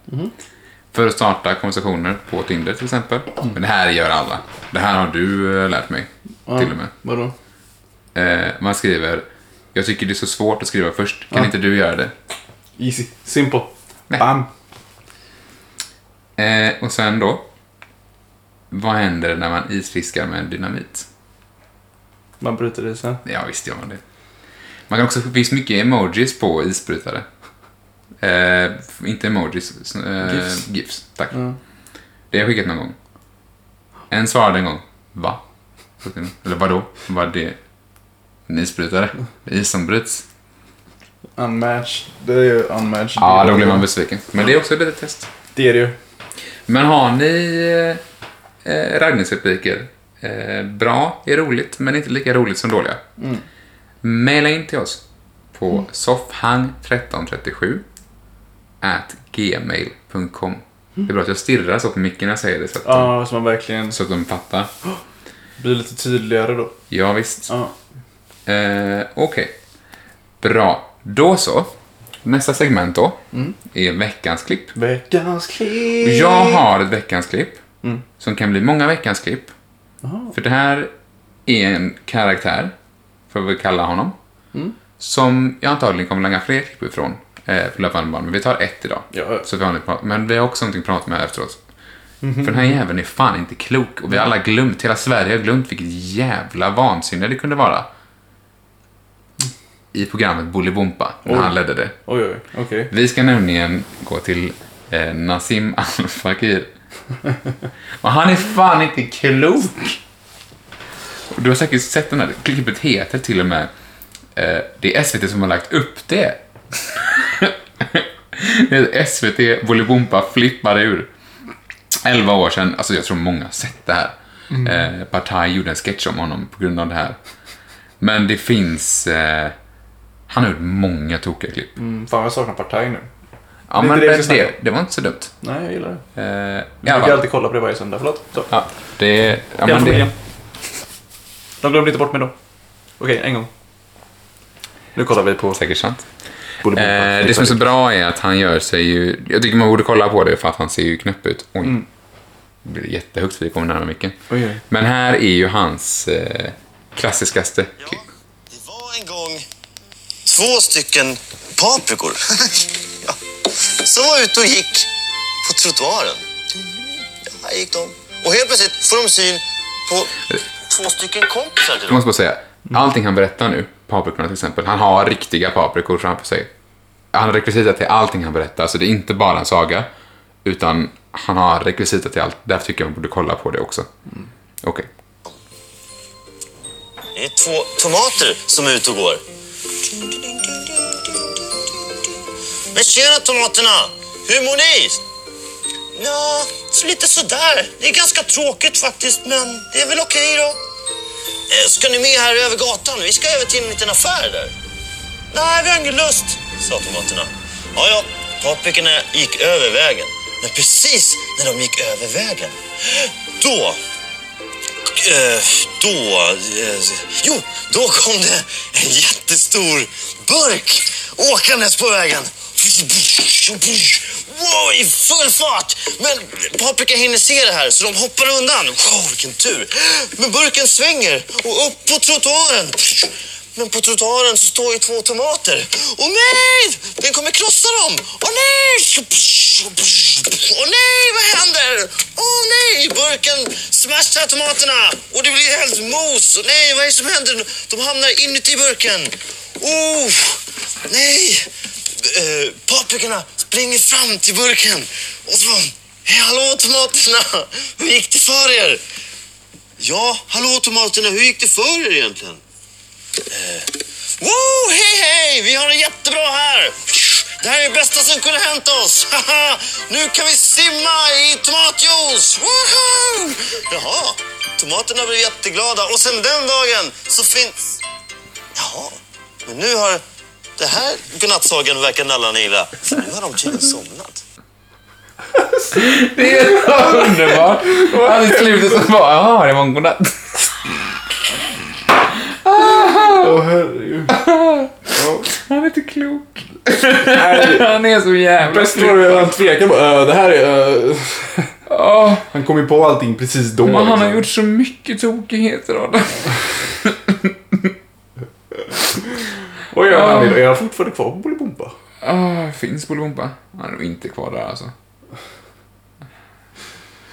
Speaker 2: För att starta konversationer på Tinder till exempel. Men det här gör alla. Det här har du eh, lärt mig. Till och med.
Speaker 1: Vadå?
Speaker 2: Eh, man skriver, jag tycker det är så svårt att skriva först. Kan
Speaker 1: Ja.
Speaker 2: inte du göra det?
Speaker 1: Easy. Simple.
Speaker 2: Nej.
Speaker 1: Bam.
Speaker 2: Eh, och sen då. Vad händer när man isfiskar med dynamit?
Speaker 1: Man bryter isen.
Speaker 2: Ja, visst gör man det. Man kan också, det finns mycket emojis på isbrytare. Eh, inte emojis, eh,
Speaker 1: GIFs.
Speaker 2: GIFs. Tack.
Speaker 1: Ja.
Speaker 2: Det har jag skickat någon gång. En svarade en gång. Va? Eller vadå? Vad det? En isbrytare? Det är is som bryts?
Speaker 1: Unmatched. Det är ju unmatched.
Speaker 2: Ja, då blir man besviken. Men det är också ett litet test.
Speaker 1: Det är det ju.
Speaker 2: Men har ni eh, raggningsrepliker? Eh, bra är roligt, men inte lika roligt som dåliga.
Speaker 1: Mm.
Speaker 2: Maila in till oss på soffhang1337 at gmail.com. Det är bra att jag stirrar så på micken när jag säger det så att,
Speaker 1: Ja, så man verkligen
Speaker 2: de, så att de fattar.
Speaker 1: blir lite tydligare då.
Speaker 2: Ja, visst.
Speaker 1: Ja.
Speaker 2: Eh, Okej. Bra. Då så. Nästa segment då
Speaker 1: Mm.
Speaker 2: är veckans klipp.
Speaker 1: Veckans klipp!
Speaker 2: Jag har ett veckans klipp
Speaker 1: Mm.
Speaker 2: som kan bli många veckans klipp.
Speaker 1: Jaha.
Speaker 2: För det här är en karaktär, får vi kalla honom,
Speaker 1: Mm.
Speaker 2: som jag antagligen kommer lägga fler klipp ifrån eh, på löpande band. Men vi tar ett idag.
Speaker 1: Ja. Mhm.
Speaker 2: Så vi har lite prat. Men vi har också någonting att prata med efteråt. För den här jäveln är fan inte klok och vi har alla glömt, hela Sverige har glömt vilket jävla vansinne det kunde vara. I programmet Bolibompa, när
Speaker 1: Oj.
Speaker 2: han ledde det.
Speaker 1: Oj, oj, okej.
Speaker 2: Vi ska nämligen gå till eh, Nassim Al Fakir. Och han är fan inte klok! Och Du har säkert sett den här klippet heter till och med eh, Det är SVT som har lagt upp det. det är SVT Bolibompa flippar ur. 11 år sedan, alltså jag tror många har sett det här. Eh, Partaj gjorde en sketch om honom på grund av det här. Men det finns... Eh, han har gjort många tokiga klipp.
Speaker 1: Mm, fan, jag saknar Partaj nu.
Speaker 2: Ja,
Speaker 1: Det är
Speaker 2: men
Speaker 1: inte det vi
Speaker 2: det,
Speaker 1: ska snacka
Speaker 2: det, det var inte så dumt.
Speaker 1: Nej, jag gillar det.
Speaker 2: Eh, i
Speaker 1: Jag
Speaker 2: alla
Speaker 1: brukar
Speaker 2: fall.
Speaker 1: alltid kolla på det varje söndag. Förlåt. Så.
Speaker 2: Ja, det, ja,
Speaker 1: Hela
Speaker 2: men
Speaker 1: familjen.
Speaker 2: det,
Speaker 1: De glömde inte bort mig då. Okej, en gång. Nu kollar vi på
Speaker 2: säkert sant.
Speaker 1: Bolibompa.
Speaker 2: Eh, det som är så bra är att han gör sig ju... Jag tycker man borde kolla på det för att han ser ju knäpp ut. Oj. Det blir jättehögt för vi kommer närmare micken.
Speaker 1: Mm. Oj, oj.
Speaker 2: Men här är ju hans eh, klassiskaste klipp.
Speaker 3: Ja, det var en gång två stycken paprikor. ja. Som var ute och gick på trottoaren. Ja, här gick de. Och helt plötsligt får de syn på två stycken kompisar till
Speaker 2: Jag
Speaker 3: dem.
Speaker 2: måste bara säga, allting han berättar nu, paprikorna till exempel, han har riktiga paprikor framför sig. Han har rekvisita till allting han berättar, så det är inte bara en saga, utan han har rekvisita till allt. Därför tycker jag man borde kolla på det också. Okej.
Speaker 3: Det är två tomater som är ute och går. Men tjena tomaterna! Hur mår ni? Ja, så lite sådär. Det är ganska tråkigt faktiskt, men det är väl okej då. Eh, Ska ni med här över gatan? Vi ska över till en liten affär där. Nej, vi har ingen lust, sa tomaterna. Ja, ja, paprikorna gick över vägen. Men precis när de gick över vägen, då Eh, då... Eh, jo, då kom det en jättestor burk åkandes på vägen. Wow, i full fart! Men paprika hinner se det här så de hoppar undan. Wow, vilken tur! Men burken svänger och upp på trottoaren. Men på trottoaren så står ju två tomater. Åh nej! Den kommer krossa dem! Åh nej! Åh nej, vad händer? Åh nej! Burken smashar tomaterna och det blir helt mos. Åh nej, vad är det som händer? De hamnar inuti burken. Oh, nej! Eh, paprikorna springer fram till burken och så Hej, hallå tomaterna! Hur gick det för er? Ja, hallå tomaterna, hur gick det för er egentligen? Woo, Oh, hej hej! Vi har det jättebra här! Det här är det bästa som kunde hänt oss! Haha, nu kan vi simma i tomatjuice! Woohoo! Jaha, tomaterna blev jätteglada och sen den dagen så finns... Jaha, men nu har... Det här godnattsagan verkar nallarna gilla. För nu har de tydligen somnat.
Speaker 2: Det är så underbart! Han i slutet så bara, jaha, det var en godnatt.
Speaker 1: Åh herregud. Ja.
Speaker 2: Han är inte klok.
Speaker 1: Nej, det-
Speaker 2: Han är så jävla
Speaker 1: Bäst var det
Speaker 2: klok.
Speaker 1: han tvekade på. "Eh, det här är... eh."
Speaker 2: Åh,
Speaker 1: han kom ju på allting precis då.
Speaker 2: men han har
Speaker 1: liksom.
Speaker 2: gjort så mycket tokigheter Adam.
Speaker 1: Vad gör han idag? Är han fortfarande kvar på Bolibompa?
Speaker 2: Ah, finns Bolibompa? Han är nog inte kvar där alltså.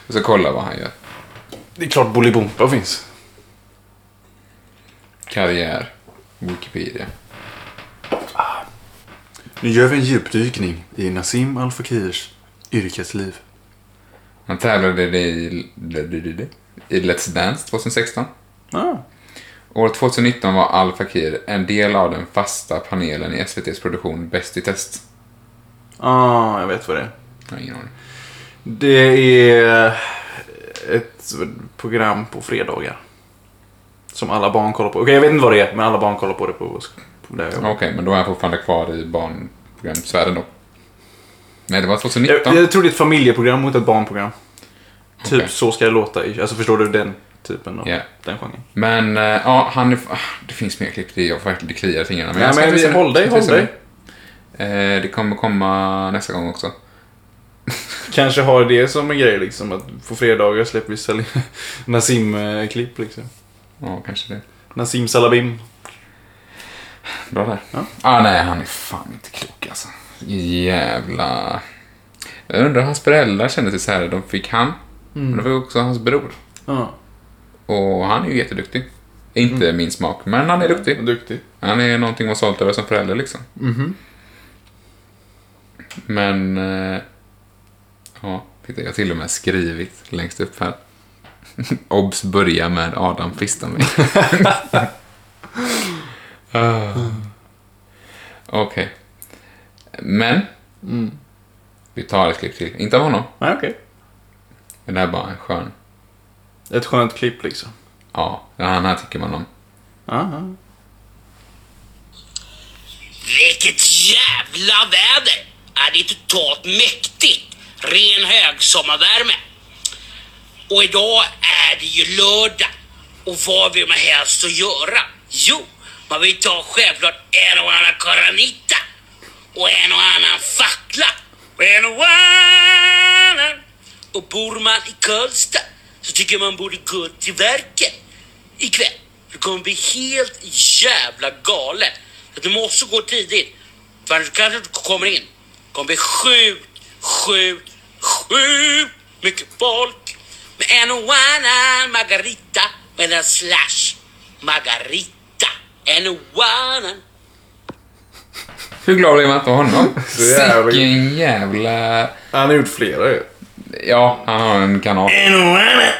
Speaker 2: Jag ska kolla vad han gör.
Speaker 1: Det är klart Bolibompa finns.
Speaker 2: Karriär. Wikipedia.
Speaker 1: Nu gör vi en djupdykning i Nassim Al Fakirs yrkesliv.
Speaker 2: Han tävlade i, i Let's Dance 2016.
Speaker 1: Ah.
Speaker 2: År 2019 var Al Fakir en del av den fasta panelen i SVTs produktion Bäst i test.
Speaker 1: ah, jag vet vad det är.
Speaker 2: Jag har ingen aning.
Speaker 1: Det är eh, ett program på fredagar. Som alla barn kollar på. Okej, jag vet inte vad det är, men alla barn kollar på det på, på där jag jobbar.
Speaker 2: Okej, men då är han fortfarande kvar i barnprogramsvärlden då. Nej, det var 2019.
Speaker 1: Jag, jag tror det är ett familjeprogram mot ett barnprogram.
Speaker 2: Okej.
Speaker 1: Typ så ska det låta. i- Alltså förstår du den typen av
Speaker 2: Ja.
Speaker 1: den genren?
Speaker 2: Men eh, ja, han är... ah, Det finns mer klipp. Det, jag får verkligen det kliar i fingrarna.
Speaker 1: Nej,
Speaker 2: jag ska
Speaker 1: men
Speaker 2: visa
Speaker 1: vi-
Speaker 2: det.
Speaker 1: håll dig,
Speaker 2: Jag ska visa
Speaker 1: håll dig.
Speaker 2: det. Eh, Det kommer komma nästa gång också.
Speaker 1: Kanske har det som en grej liksom att på fredagar släpper vi Sal- Nassim-klipp liksom.
Speaker 2: Ja, kanske det.
Speaker 1: Nassim Salabim.
Speaker 2: Bra där. Ah, nej, han är fan inte klok alltså. Jävla... Jag undrar hur hans föräldrar kände sig så här. De fick han, men de fick också hans bror.
Speaker 1: Ja,
Speaker 2: Och han är ju jätteduktig. Inte min smak, men han är duktig.
Speaker 1: duktig.
Speaker 2: Han är någonting att vara stolt över som förälder liksom.
Speaker 1: Mhm.
Speaker 2: Men... eh, Ja, titta, jag har till och med skrivit längst upp här. Obs börja med Adam fista mig. Ah. Okej. Men...
Speaker 1: Mm.
Speaker 2: Vi tar ett klipp till. Inte av honom,
Speaker 1: Nej, okej.
Speaker 2: men det här är bara en skön...
Speaker 1: Ett skönt klipp liksom.
Speaker 2: Ja, den här tycker man om.
Speaker 1: Aha.
Speaker 4: Vilket jävla väder! Ja, det är totalt mäktigt. Ren högsommarvärme. Och idag är det ju lördag. Och vad vill man helst att göra? Jo, man vill ta självklart en och annan karanita. Och en och annan fackla. Och en och annan. Och bor man i Karlstad så tycker jag man borde gå till verket ikväll. Det kommer bli helt jävla galet. Du måste gå tidigt. För annars kanske du inte kommer in. Det kommer bli sjukt, sjukt, sjukt mycket folk. Med en och annan Margarita med en slash. Margarita. En och annan.
Speaker 2: Hur glad blev man inte av honom?
Speaker 1: Så jävla-
Speaker 2: Sicken jävla...
Speaker 1: Han har gjort flera ju.
Speaker 2: Ja, han har en kanal.
Speaker 3: En och annan.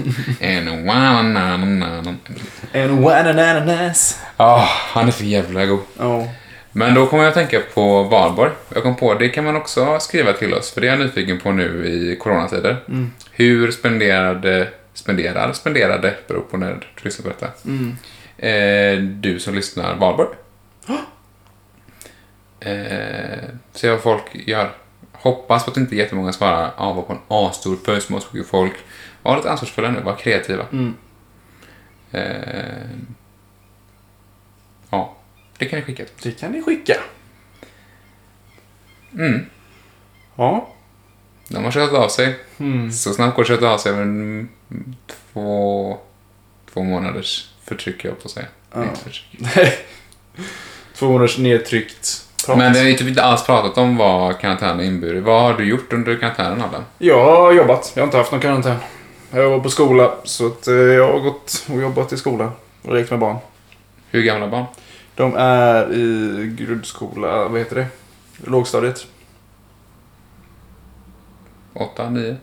Speaker 2: En one
Speaker 1: And one ananas.
Speaker 2: Ah, han är så jävla god.
Speaker 1: Ja.
Speaker 2: Men då kommer jag att tänka på valborg. Jag kom på, det kan man också skriva till oss, för det är jag nyfiken på nu i coronatider. Hur spenderade, spenderar, spenderade, beror på när du lyssnar på detta. Eh, du som lyssnar valborg. eh, se vad folk gör. Hoppas på att inte jättemånga svarar, ja, ah, var på en A-stor pösmås, folk. Var lite ansvarsfulla nu, var kreativa. Eh, ja, det kan ni skicka till oss.
Speaker 1: Det kan ni skicka.
Speaker 2: Mm.
Speaker 1: Ja.
Speaker 2: De har köttat av sig. Så snabbt går det att kötta av sig över en- två, två månaders förtryck, jag på att säga. Inte förtryck.
Speaker 1: Två månaders nedtryckt prat.
Speaker 2: Men det är ju typ inte alls pratat om vad karantänen inbjudit. Vad har du gjort under karantänen, Adam?
Speaker 1: Jag har jobbat. Jag har inte haft någon karantän. Jag var på skola, så att eh, jag har gått och jobbat i skolan. Och lekt med barn.
Speaker 2: Hur gamla barn?
Speaker 1: De är i grundskola, vad heter det? Lågstadiet.
Speaker 2: Åtta, nio?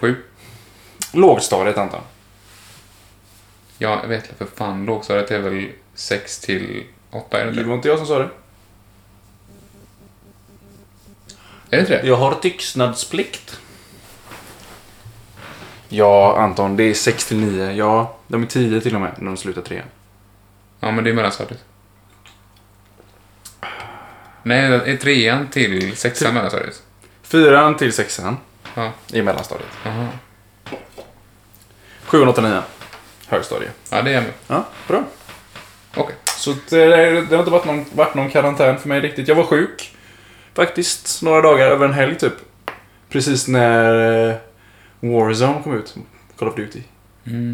Speaker 2: Sju?
Speaker 1: Lågstadiet antar jag.
Speaker 2: Ja, jag vet inte för fan. Lågstadiet är väl sex till åtta, är det inte
Speaker 1: Det
Speaker 2: det?
Speaker 1: var inte jag som sa det.
Speaker 2: Är det inte det?
Speaker 1: Jag har tystnadsplikt. Ja, Anton, det är 6 till 9. Ja, de är 10 till och med när de slutar trean.
Speaker 2: Ja, men det är mellanstadiet. Nej, det är trean till sexan mellanstadiet.
Speaker 1: Fyran till sexan
Speaker 2: Ja.
Speaker 1: i mellanstadiet.
Speaker 2: Aha.
Speaker 1: Sjuan, åttan, nian. Högstadiet.
Speaker 2: ja, det är jag med.
Speaker 1: Ja, bra.
Speaker 2: Okej.
Speaker 1: Så att, eh, det, det har inte varit någon, varit någon karantän för mig riktigt. Jag var sjuk. Faktiskt några dagar över en helg typ. Precis när eh, Warzone kom ut. Call of Duty.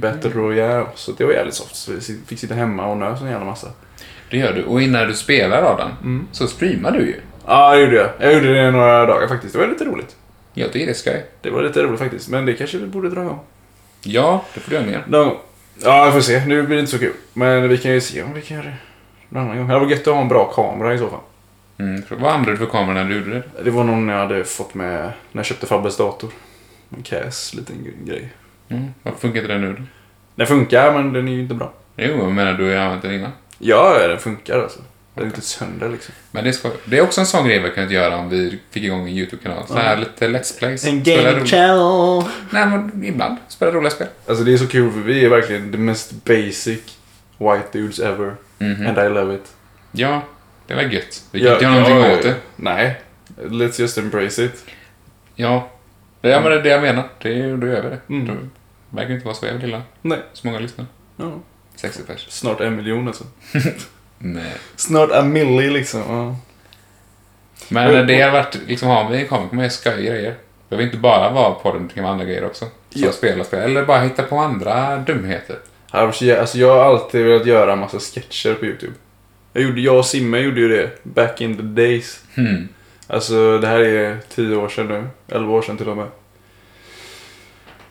Speaker 1: Battle Royale. Så det var jävligt soft. Så vi sit- fick sitta hemma och nös en jävla massa.
Speaker 2: Det gör du. Och innan du spelar Adam, så streamar du ju.
Speaker 1: Ja, det gjorde jag. Jag gjorde det några dagar faktiskt. Det var lite roligt.
Speaker 2: Jag tycker det är skoj.
Speaker 1: Det var lite roligt faktiskt. Men det kanske vi borde dra igång.
Speaker 2: Ja, det får du göra mer.
Speaker 1: Någon gång. Ja, vi får se. Nu blir det inte så kul. Men vi kan ju se om vi kan göra det någon annan gång. Det var gött att ha en bra kamera i så fall.
Speaker 2: Mm. för- Vad använde du för kamera när du gjorde det?
Speaker 1: Det var någon jag hade fått med när jag köpte Fabbes dator. En Cas liten grej.
Speaker 2: Mm. Varför funkar inte den nu då?
Speaker 1: Den funkar, men den är ju inte bra.
Speaker 2: Jo, jag menar du har ju använt den innan.
Speaker 1: Ja, ja, den funkar alltså. Den är inte sönder liksom.
Speaker 2: Men det är skoj. Det är också en sån grej vi kunde göra om vi fick igång en YouTube-kanal. Så här lite Let's Plays. Spela rolig-
Speaker 1: channel.
Speaker 2: Nej, men ibland. Spela roliga spel.
Speaker 1: Alltså det är så kul för vi är verkligen the mest basic white dudes ever. And I love it.
Speaker 2: Ja, det var gött. Vi kan inte göra någonting åt det.
Speaker 1: Nej. Let's just embrace it.
Speaker 2: Ja. Det är, men det är det jag menar. Det är ju, då gör vi det. Det verkar inte vara så jävla illa.
Speaker 1: Nej.
Speaker 2: Så många lyssnar.
Speaker 1: Ja.
Speaker 2: 60 pers.
Speaker 1: Snart en miljon alltså.
Speaker 2: Nej.
Speaker 1: Snart en milli liksom. Ja.
Speaker 2: Men det har varit, liksom har vi en kamera kommer jag skoja grejer. Det behöver inte bara vara podden, det kan vara andra grejer också. Som
Speaker 1: Ja.
Speaker 2: spela spel, eller bara hitta på andra dumheter.
Speaker 1: Ja, men så jag- Alltså jag har alltid velat göra en massa sketcher på YouTube. Jag, gjorde, jag och Simme gjorde ju det back in the days.
Speaker 2: Hmm.
Speaker 1: Alltså det här är tio år sedan nu. Elva år sedan till och med.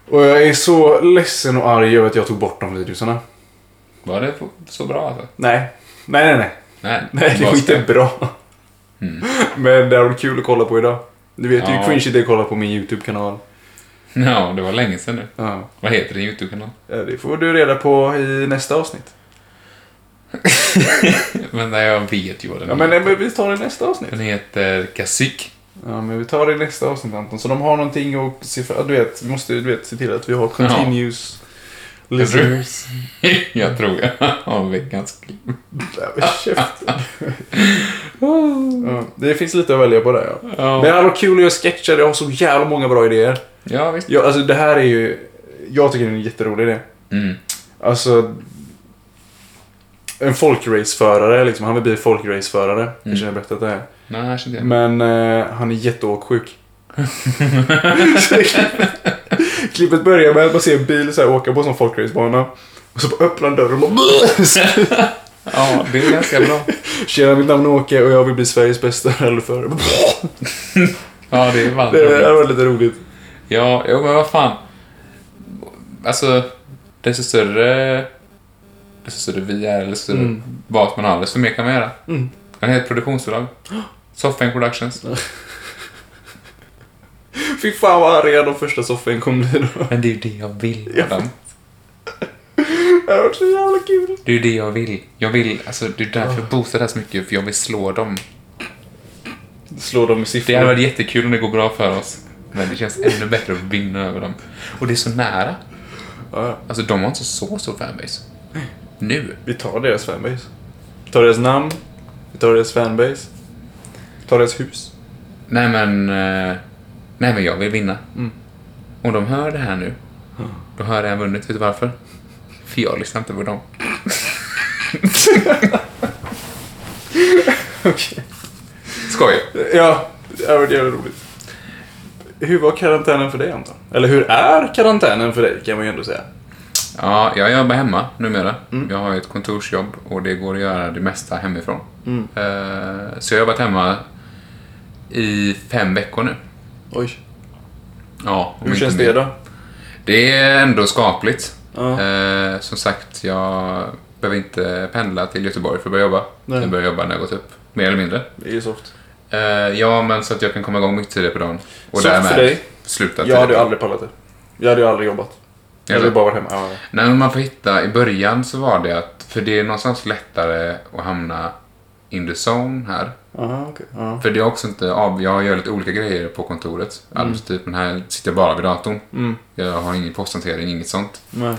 Speaker 1: Och jag är så ledsen och arg över att jag tog bort de videosarna.
Speaker 2: Var det så bra alltså?
Speaker 1: Nej. Nej, nej, nej.
Speaker 2: Nej,
Speaker 1: Nej, det
Speaker 2: bara
Speaker 1: var inte
Speaker 2: spel.
Speaker 1: bra. Men det var kul att kolla på idag. Du vet ju
Speaker 2: Hmm. Ja.
Speaker 1: hur cringe det är att kolla på min YouTube-kanal.
Speaker 2: Ja, det var länge sedan nu.
Speaker 1: Ja.
Speaker 2: Vad heter din YouTube-kanal?
Speaker 1: Ja, Det får du reda på i nästa avsnitt.
Speaker 2: Men nej, jag vet ju vad den
Speaker 1: Ja, men,
Speaker 2: heter.
Speaker 1: nej, men vi tar det i nästa avsnitt.
Speaker 2: Den heter Kasik.
Speaker 1: Ja, men vi tar det i nästa avsnitt Anton. Så de har någonting att se för... Du vet, vi måste du vet, se till att vi har continuous listeners.
Speaker 2: jag tror jag har veckans klipp.
Speaker 1: Nej, men käften. ja, det finns lite att välja på där ja.
Speaker 2: Ja.
Speaker 1: Men det hade varit kul att göra sketcher. Jag har så jävla många bra idéer.
Speaker 2: Ja, visst.
Speaker 1: Ja, alltså det här är ju... Jag tycker det är en jätterolig idé.
Speaker 2: Mm.
Speaker 1: Alltså... En folkraceförare liksom. Han vill bli folkraceförare.
Speaker 2: Mm.
Speaker 1: Kanske jag har berättat det här.
Speaker 2: Nej, jag känner inte
Speaker 1: Men eh, han är jätteåksjuk. Så det klipp- Klippet börjar med att man ser en bil så här åka på en sån folkracebana. Och så bara öppnar han dörren och bara...
Speaker 2: Ja, det är ganska bra.
Speaker 1: Tjena, mitt namn är Åke och jag vill bli Sveriges bästa rallyförare.
Speaker 2: Ja, det är varmt.
Speaker 1: Det hade varit lite roligt.
Speaker 2: Ja, jo, men vad fan. Alltså, desto större... Desto större vi är, eller desto större bas man har, desto mer kan man göra. Mm. Man är ett produktionsbolag. Soffan Productions.
Speaker 1: Fy fan vad arga de första soffan kommer bli då.
Speaker 2: Men det är ju det jag vill med dem.
Speaker 1: Det hade varit så jävla kul.
Speaker 2: Det är ju det jag vill. Jag vill, alltså det är därför jag boostar det här så mycket, för jag vill slå dem.
Speaker 1: Slå dem i
Speaker 2: Det hade
Speaker 1: siffror.
Speaker 2: varit jättekul om det går bra för oss. Men det känns ännu bättre att vinna över dem. Och det är så nära.
Speaker 1: Ja,
Speaker 2: Alltså de har inte så stor fanbase. Nu.
Speaker 1: vi tar deras fanbase. Vi tar deras namn. Vi tar deras fanbase. Vi tar deras hus.
Speaker 2: Nej men... eh, Nej men jag vill vinna.
Speaker 1: Mm.
Speaker 2: Om de hör det här nu, då har jag redan vunnit. Vet du varför? För jag lyssnar inte på dem.
Speaker 1: Okej.
Speaker 2: Skoj.
Speaker 1: Ja, det hade varit jävligt roligt. Hur var karantänen för dig Anton? Eller hur är karantänen för dig kan man ju ändå säga.
Speaker 2: Ja, jag jobbar hemma numera.
Speaker 1: Mm.
Speaker 2: Jag har ju ett kontorsjobb och det går att göra det mesta hemifrån.
Speaker 1: Mm.
Speaker 2: Eh, Så jag har jobbat hemma i fem veckor nu.
Speaker 1: Oj.
Speaker 2: Ja, om
Speaker 1: Hur
Speaker 2: inte
Speaker 1: känns
Speaker 2: mer.
Speaker 1: det då?
Speaker 2: Det är ändå skapligt.
Speaker 1: Ja.
Speaker 2: Eh, som sagt, jag behöver inte pendla till Göteborg för att börja jobba.
Speaker 1: Nej.
Speaker 2: Jag börjar jobba när jag gått upp, mer eller mindre.
Speaker 1: Det är ju soft.
Speaker 2: Eh, ja, men så att jag kan komma igång mycket tidigare på dagen. Och
Speaker 1: Så
Speaker 2: därmed
Speaker 1: för dig?
Speaker 2: sluta
Speaker 1: Jag
Speaker 2: tidigare.
Speaker 1: hade ju aldrig pallat det. Jag hade ju aldrig jobbat. Jag hade
Speaker 2: Eller?
Speaker 1: ju bara varit hemma. Ja, ja.
Speaker 2: Nej, men man får hitta, i början så var det att, för det är någonstans lättare att hamna in the zone här.
Speaker 1: Aha, okej. Ja.
Speaker 2: För det är också inte av, jag gör lite olika grejer på kontoret. Alltså
Speaker 1: Mm.
Speaker 2: typ, men här sitter jag bara vid datorn. Jag har ingen posthantering, inget sånt.
Speaker 1: Nej.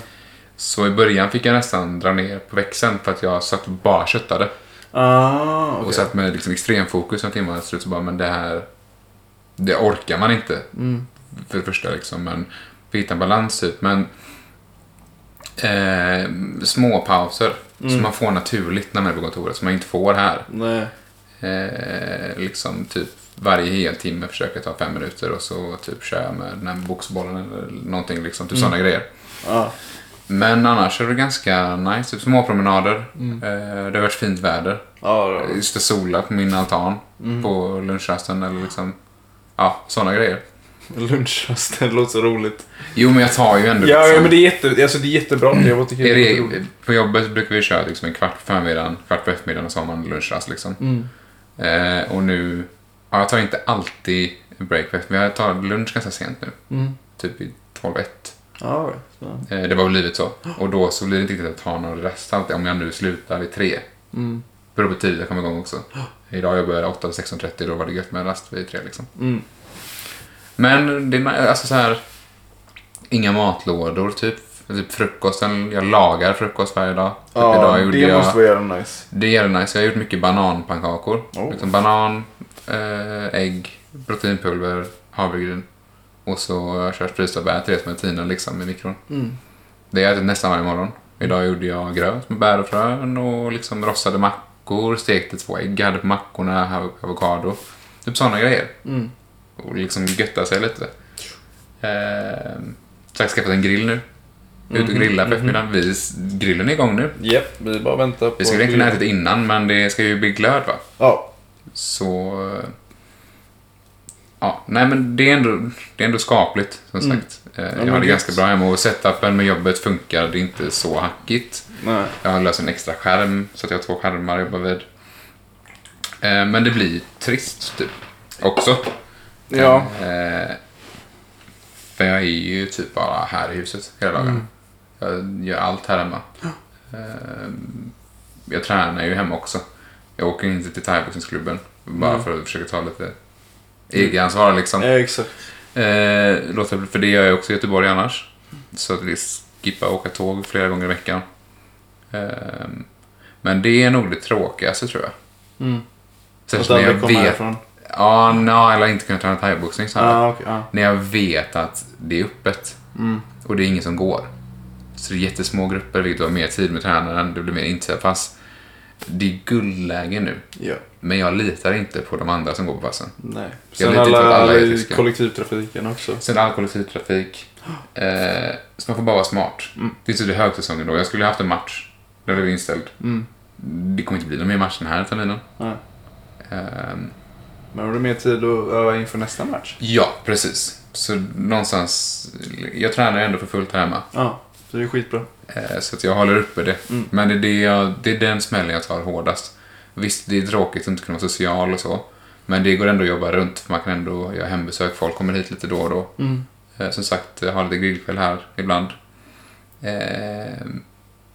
Speaker 2: Så i början fick jag nästan dra ner på växeln för att jag satt och bara köttade.
Speaker 1: Ah, okej.
Speaker 2: Och satt med liksom extremfokus några timmar. Till slut så bara, men det här... Det orkar man inte. För det första liksom. Men vi hittar en balans typ. Men... Eh, små pauser. Som man får naturligt när man är på kontoret. Som man inte får här.
Speaker 1: Nej.
Speaker 2: Eh, liksom typ varje heltimme försöker jag ta fem minuter och så typ kör jag med den här boxbollen eller någonting liksom. Typ sådana grejer.
Speaker 1: Ja.
Speaker 2: Men annars är det ganska nice. Typ små promenader.
Speaker 1: Mm.
Speaker 2: Eh, det har varit fint väder.
Speaker 1: Ja, det var det.
Speaker 2: Just det, sola på min altan
Speaker 1: Mm.
Speaker 2: på lunchrasten eller liksom... Ja, sådana grejer.
Speaker 1: lunchrasten det låter så roligt.
Speaker 2: Jo, men jag tar ju ändå
Speaker 1: Ja,
Speaker 2: liksom...
Speaker 1: ja men det är, jätte, alltså, det är jättebra. Det har varit kul.
Speaker 2: Är
Speaker 1: Det har varit roligt.
Speaker 2: det, på jobbet brukar vi köra liksom en kvart på förmiddagen, kvart på eftermiddagen och så har man lunchrast. Liksom.
Speaker 1: Mm.
Speaker 2: Eh, och nu... Ja, jag tar inte alltid break på eftermiddagen. Jag tar lunch ganska sent nu.
Speaker 1: Mm.
Speaker 2: Typ i 12-1.
Speaker 1: Ja, Ah, okej. Typ Så.
Speaker 2: Eh, det var väl livet så. Och då så blir det inte riktigt att ta någon rast alltid om jag nu slutar vid 3.
Speaker 1: Mm.
Speaker 2: Beror på tid jag kommer igång också. Idag jobbar jag 8 till 16.30 då var det gött med en rast vid 3 liksom.
Speaker 1: Mm.
Speaker 2: Men det är na- alltså så här inga matlådor typ. Typ frukosten, jag lagar frukost varje dag. Typ
Speaker 1: Ja,
Speaker 2: idag gjorde
Speaker 1: det
Speaker 2: jag,
Speaker 1: måste vara jävla nice.
Speaker 2: Det är jävligt nice. Jag har gjort mycket bananpannkakor.
Speaker 1: Oh.
Speaker 2: Liksom banan, eh, ägg, proteinpulver, havregryn. Och så har jag kört frysta bär till det som jag tinar liksom i mikron. Det har jag ätit nästan varje morgon. Idag gjorde jag gröt med bär och frön och liksom rostade mackor, stekte två ägg, hade på mackorna, hav- avokado. Typ sådana grejer. Och liksom götta sig lite. Eh, så har jag skaffat en grill nu. Ut och grilla på eftermiddagen. Vi, grillen är igång nu.
Speaker 1: Japp, vi bara väntar på...
Speaker 2: Vi skulle egentligen ha ätit innan, men det ska ju bli glöd va?
Speaker 1: Ja.
Speaker 2: Så... eh, Ja, nej men det är ändå, det är ändå skapligt som sagt. Eh, Jag har
Speaker 1: gött.
Speaker 2: det ganska bra hemma och setupen med jobbet funkar. Det är inte så hackigt.
Speaker 1: Nej.
Speaker 2: Jag har löst en extra skärm så att jag har två skärmar att jobba vid. Eh, Men det blir trist typ. Också.
Speaker 1: Ja.
Speaker 2: Eh, För jag är ju typ bara här i huset hela dagen. Jag gör allt här hemma. Eh, Jag tränar ju hemma också. Jag åker inte till thaiboxningsklubben bara för att försöka ta lite egenansvar liksom.
Speaker 1: Ja, exakt.
Speaker 2: Eh, låter, för det gör jag också i Göteborg annars. Så att vi skippar åka tåg flera gånger i veckan. Eh, men det är nog det tråkigaste tror jag.
Speaker 1: Att
Speaker 2: Särskilt när
Speaker 1: aldrig
Speaker 2: jag
Speaker 1: komma
Speaker 2: vet...
Speaker 1: härifrån.
Speaker 2: Ja, no, eller inte kunna träna thaiboxning så här.
Speaker 1: Ja, okej. Ah. ja.
Speaker 2: När jag vet att det är öppet och det är ingen som går. Så det är jättesmå grupper vilket har mer tid med tränaren, det blir mer inköpass. Det är guldläge nu.
Speaker 1: Ja.
Speaker 2: Men jag litar inte på de andra som går på passen.
Speaker 1: Nej.
Speaker 2: Jag
Speaker 1: Sen
Speaker 2: litar inte på
Speaker 1: alla,
Speaker 2: att alla
Speaker 1: alla
Speaker 2: är
Speaker 1: i
Speaker 2: friska.
Speaker 1: kollektivtrafiken också.
Speaker 2: Sen all kollektivtrafik. Eh, så man får bara vara smart. Det är inte så det är högsäsongen då. Jag skulle haft en match. Den blev inställd. Det kommer inte bli någon mer match den här terminen.
Speaker 1: Nej.
Speaker 2: Ehm,
Speaker 1: Men har du mer tid att öva inför nästa match?
Speaker 2: ja, precis. Så någonstans... Jag tränar ändå för fullt här hemma.
Speaker 1: Ja, Ah, så det är skitbra.
Speaker 2: Eh, Så att jag håller uppe det. Men det är, det, jag, det är den smällen jag tar hårdast. Visst, det är tråkigt att inte kunna vara social och så. Men det går ändå att jobba runt. för Man kan ändå göra hembesök. Folk kommer hit lite då och då. Eh, Som sagt, jag har lite grillkväll här ibland. Eh,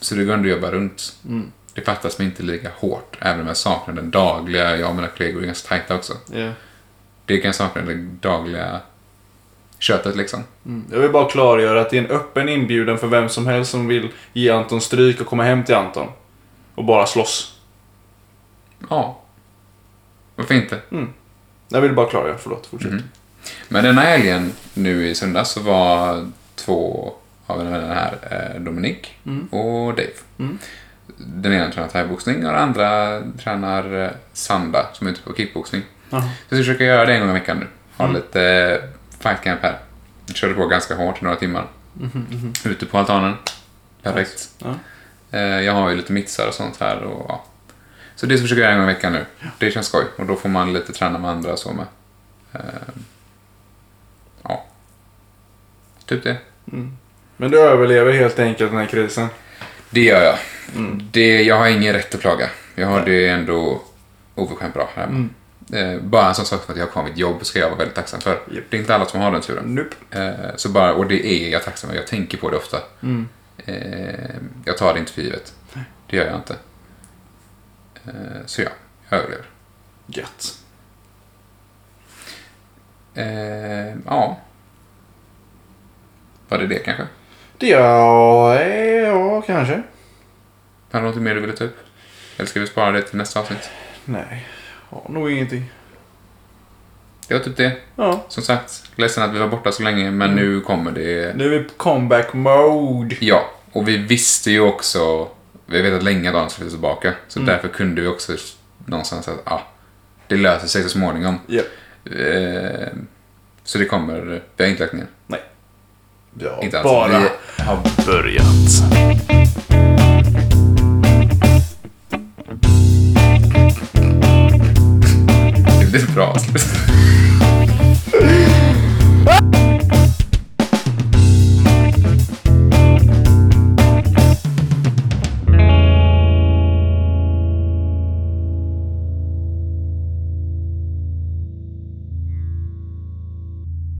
Speaker 2: Så det går ändå att jobba runt. Det fattas mig inte lika hårt. Även om jag saknar den dagliga. Jag och mina kollegor är ganska tajta också.
Speaker 1: Ja.
Speaker 2: Det kan jag sakna det dagliga köttet liksom.
Speaker 1: Mm. Jag vill bara klargöra att det är en öppen inbjudan för vem som helst som vill ge Anton stryk och komma hem till Anton. Och bara slåss.
Speaker 2: Ja. Varför inte?
Speaker 1: Jag vill bara klargöra, förlåt. Fortsätt.
Speaker 2: Mm. Men denna helgen nu i söndags så var två av mina vänner här, eh, Dominik och Dave. Den ena tränar thaiboxning och den andra tränar eh, sanda som är ute på kickboxning.
Speaker 1: Jaha.
Speaker 2: Så jag ska försöka göra det en gång i veckan nu. Ha lite eh, fight camp här. Jag körde på ganska hårt i några timmar. Ute på altanen. Perfekt.
Speaker 1: Ja.
Speaker 2: Eh, Jag har ju lite mittsar och sånt här. Och, ja. Så det ska jag försöka göra en gång i veckan nu. Det känns skoj. Och då får man lite träna med andra och så med. Eh, Ja. Typ det.
Speaker 1: Men du överlever helt enkelt den här krisen.
Speaker 2: Det gör jag. Det, jag har ingen rätt att klaga. Jag har det ändå oförskämt bra här hemma. Eh, Bara en sån sak som att jag har kvar mitt jobb ska jag vara väldigt tacksam för.
Speaker 1: Japp.
Speaker 2: Det är inte alla som har den turen.
Speaker 1: Nope.
Speaker 2: Eh, Så bara, och det är jag tacksam för. Jag tänker på det ofta. Eh, Jag tar det inte för givet. Det gör jag inte. Eh, Så ja, jag överlever.
Speaker 1: Gött.
Speaker 2: Eh, Ja. Var det det kanske?
Speaker 1: Det ja, eh, ja, kanske.
Speaker 2: Har du något mer du ville ta upp? Eller ska vi spara det till nästa avsnitt?
Speaker 1: Nej, ja, nog ingenting.
Speaker 2: Det var typ det.
Speaker 1: Ja,
Speaker 2: Som sagt, ledsen att vi var borta så länge, men nu kommer det.
Speaker 1: nu är vi på comeback mode.
Speaker 2: Ja, och vi visste ju också... Vi har vetat länge att Adam skulle finnas tillbaka, så därför kunde vi också någonstans att ah, det löser sig så småningom.
Speaker 1: Ja.
Speaker 2: Eh, så det kommer... Vi har inte lagt ner.
Speaker 1: Nej. Ja,
Speaker 2: Inte alls.
Speaker 1: bara
Speaker 2: Vi har
Speaker 1: börjat.
Speaker 2: Det blir bra avslut.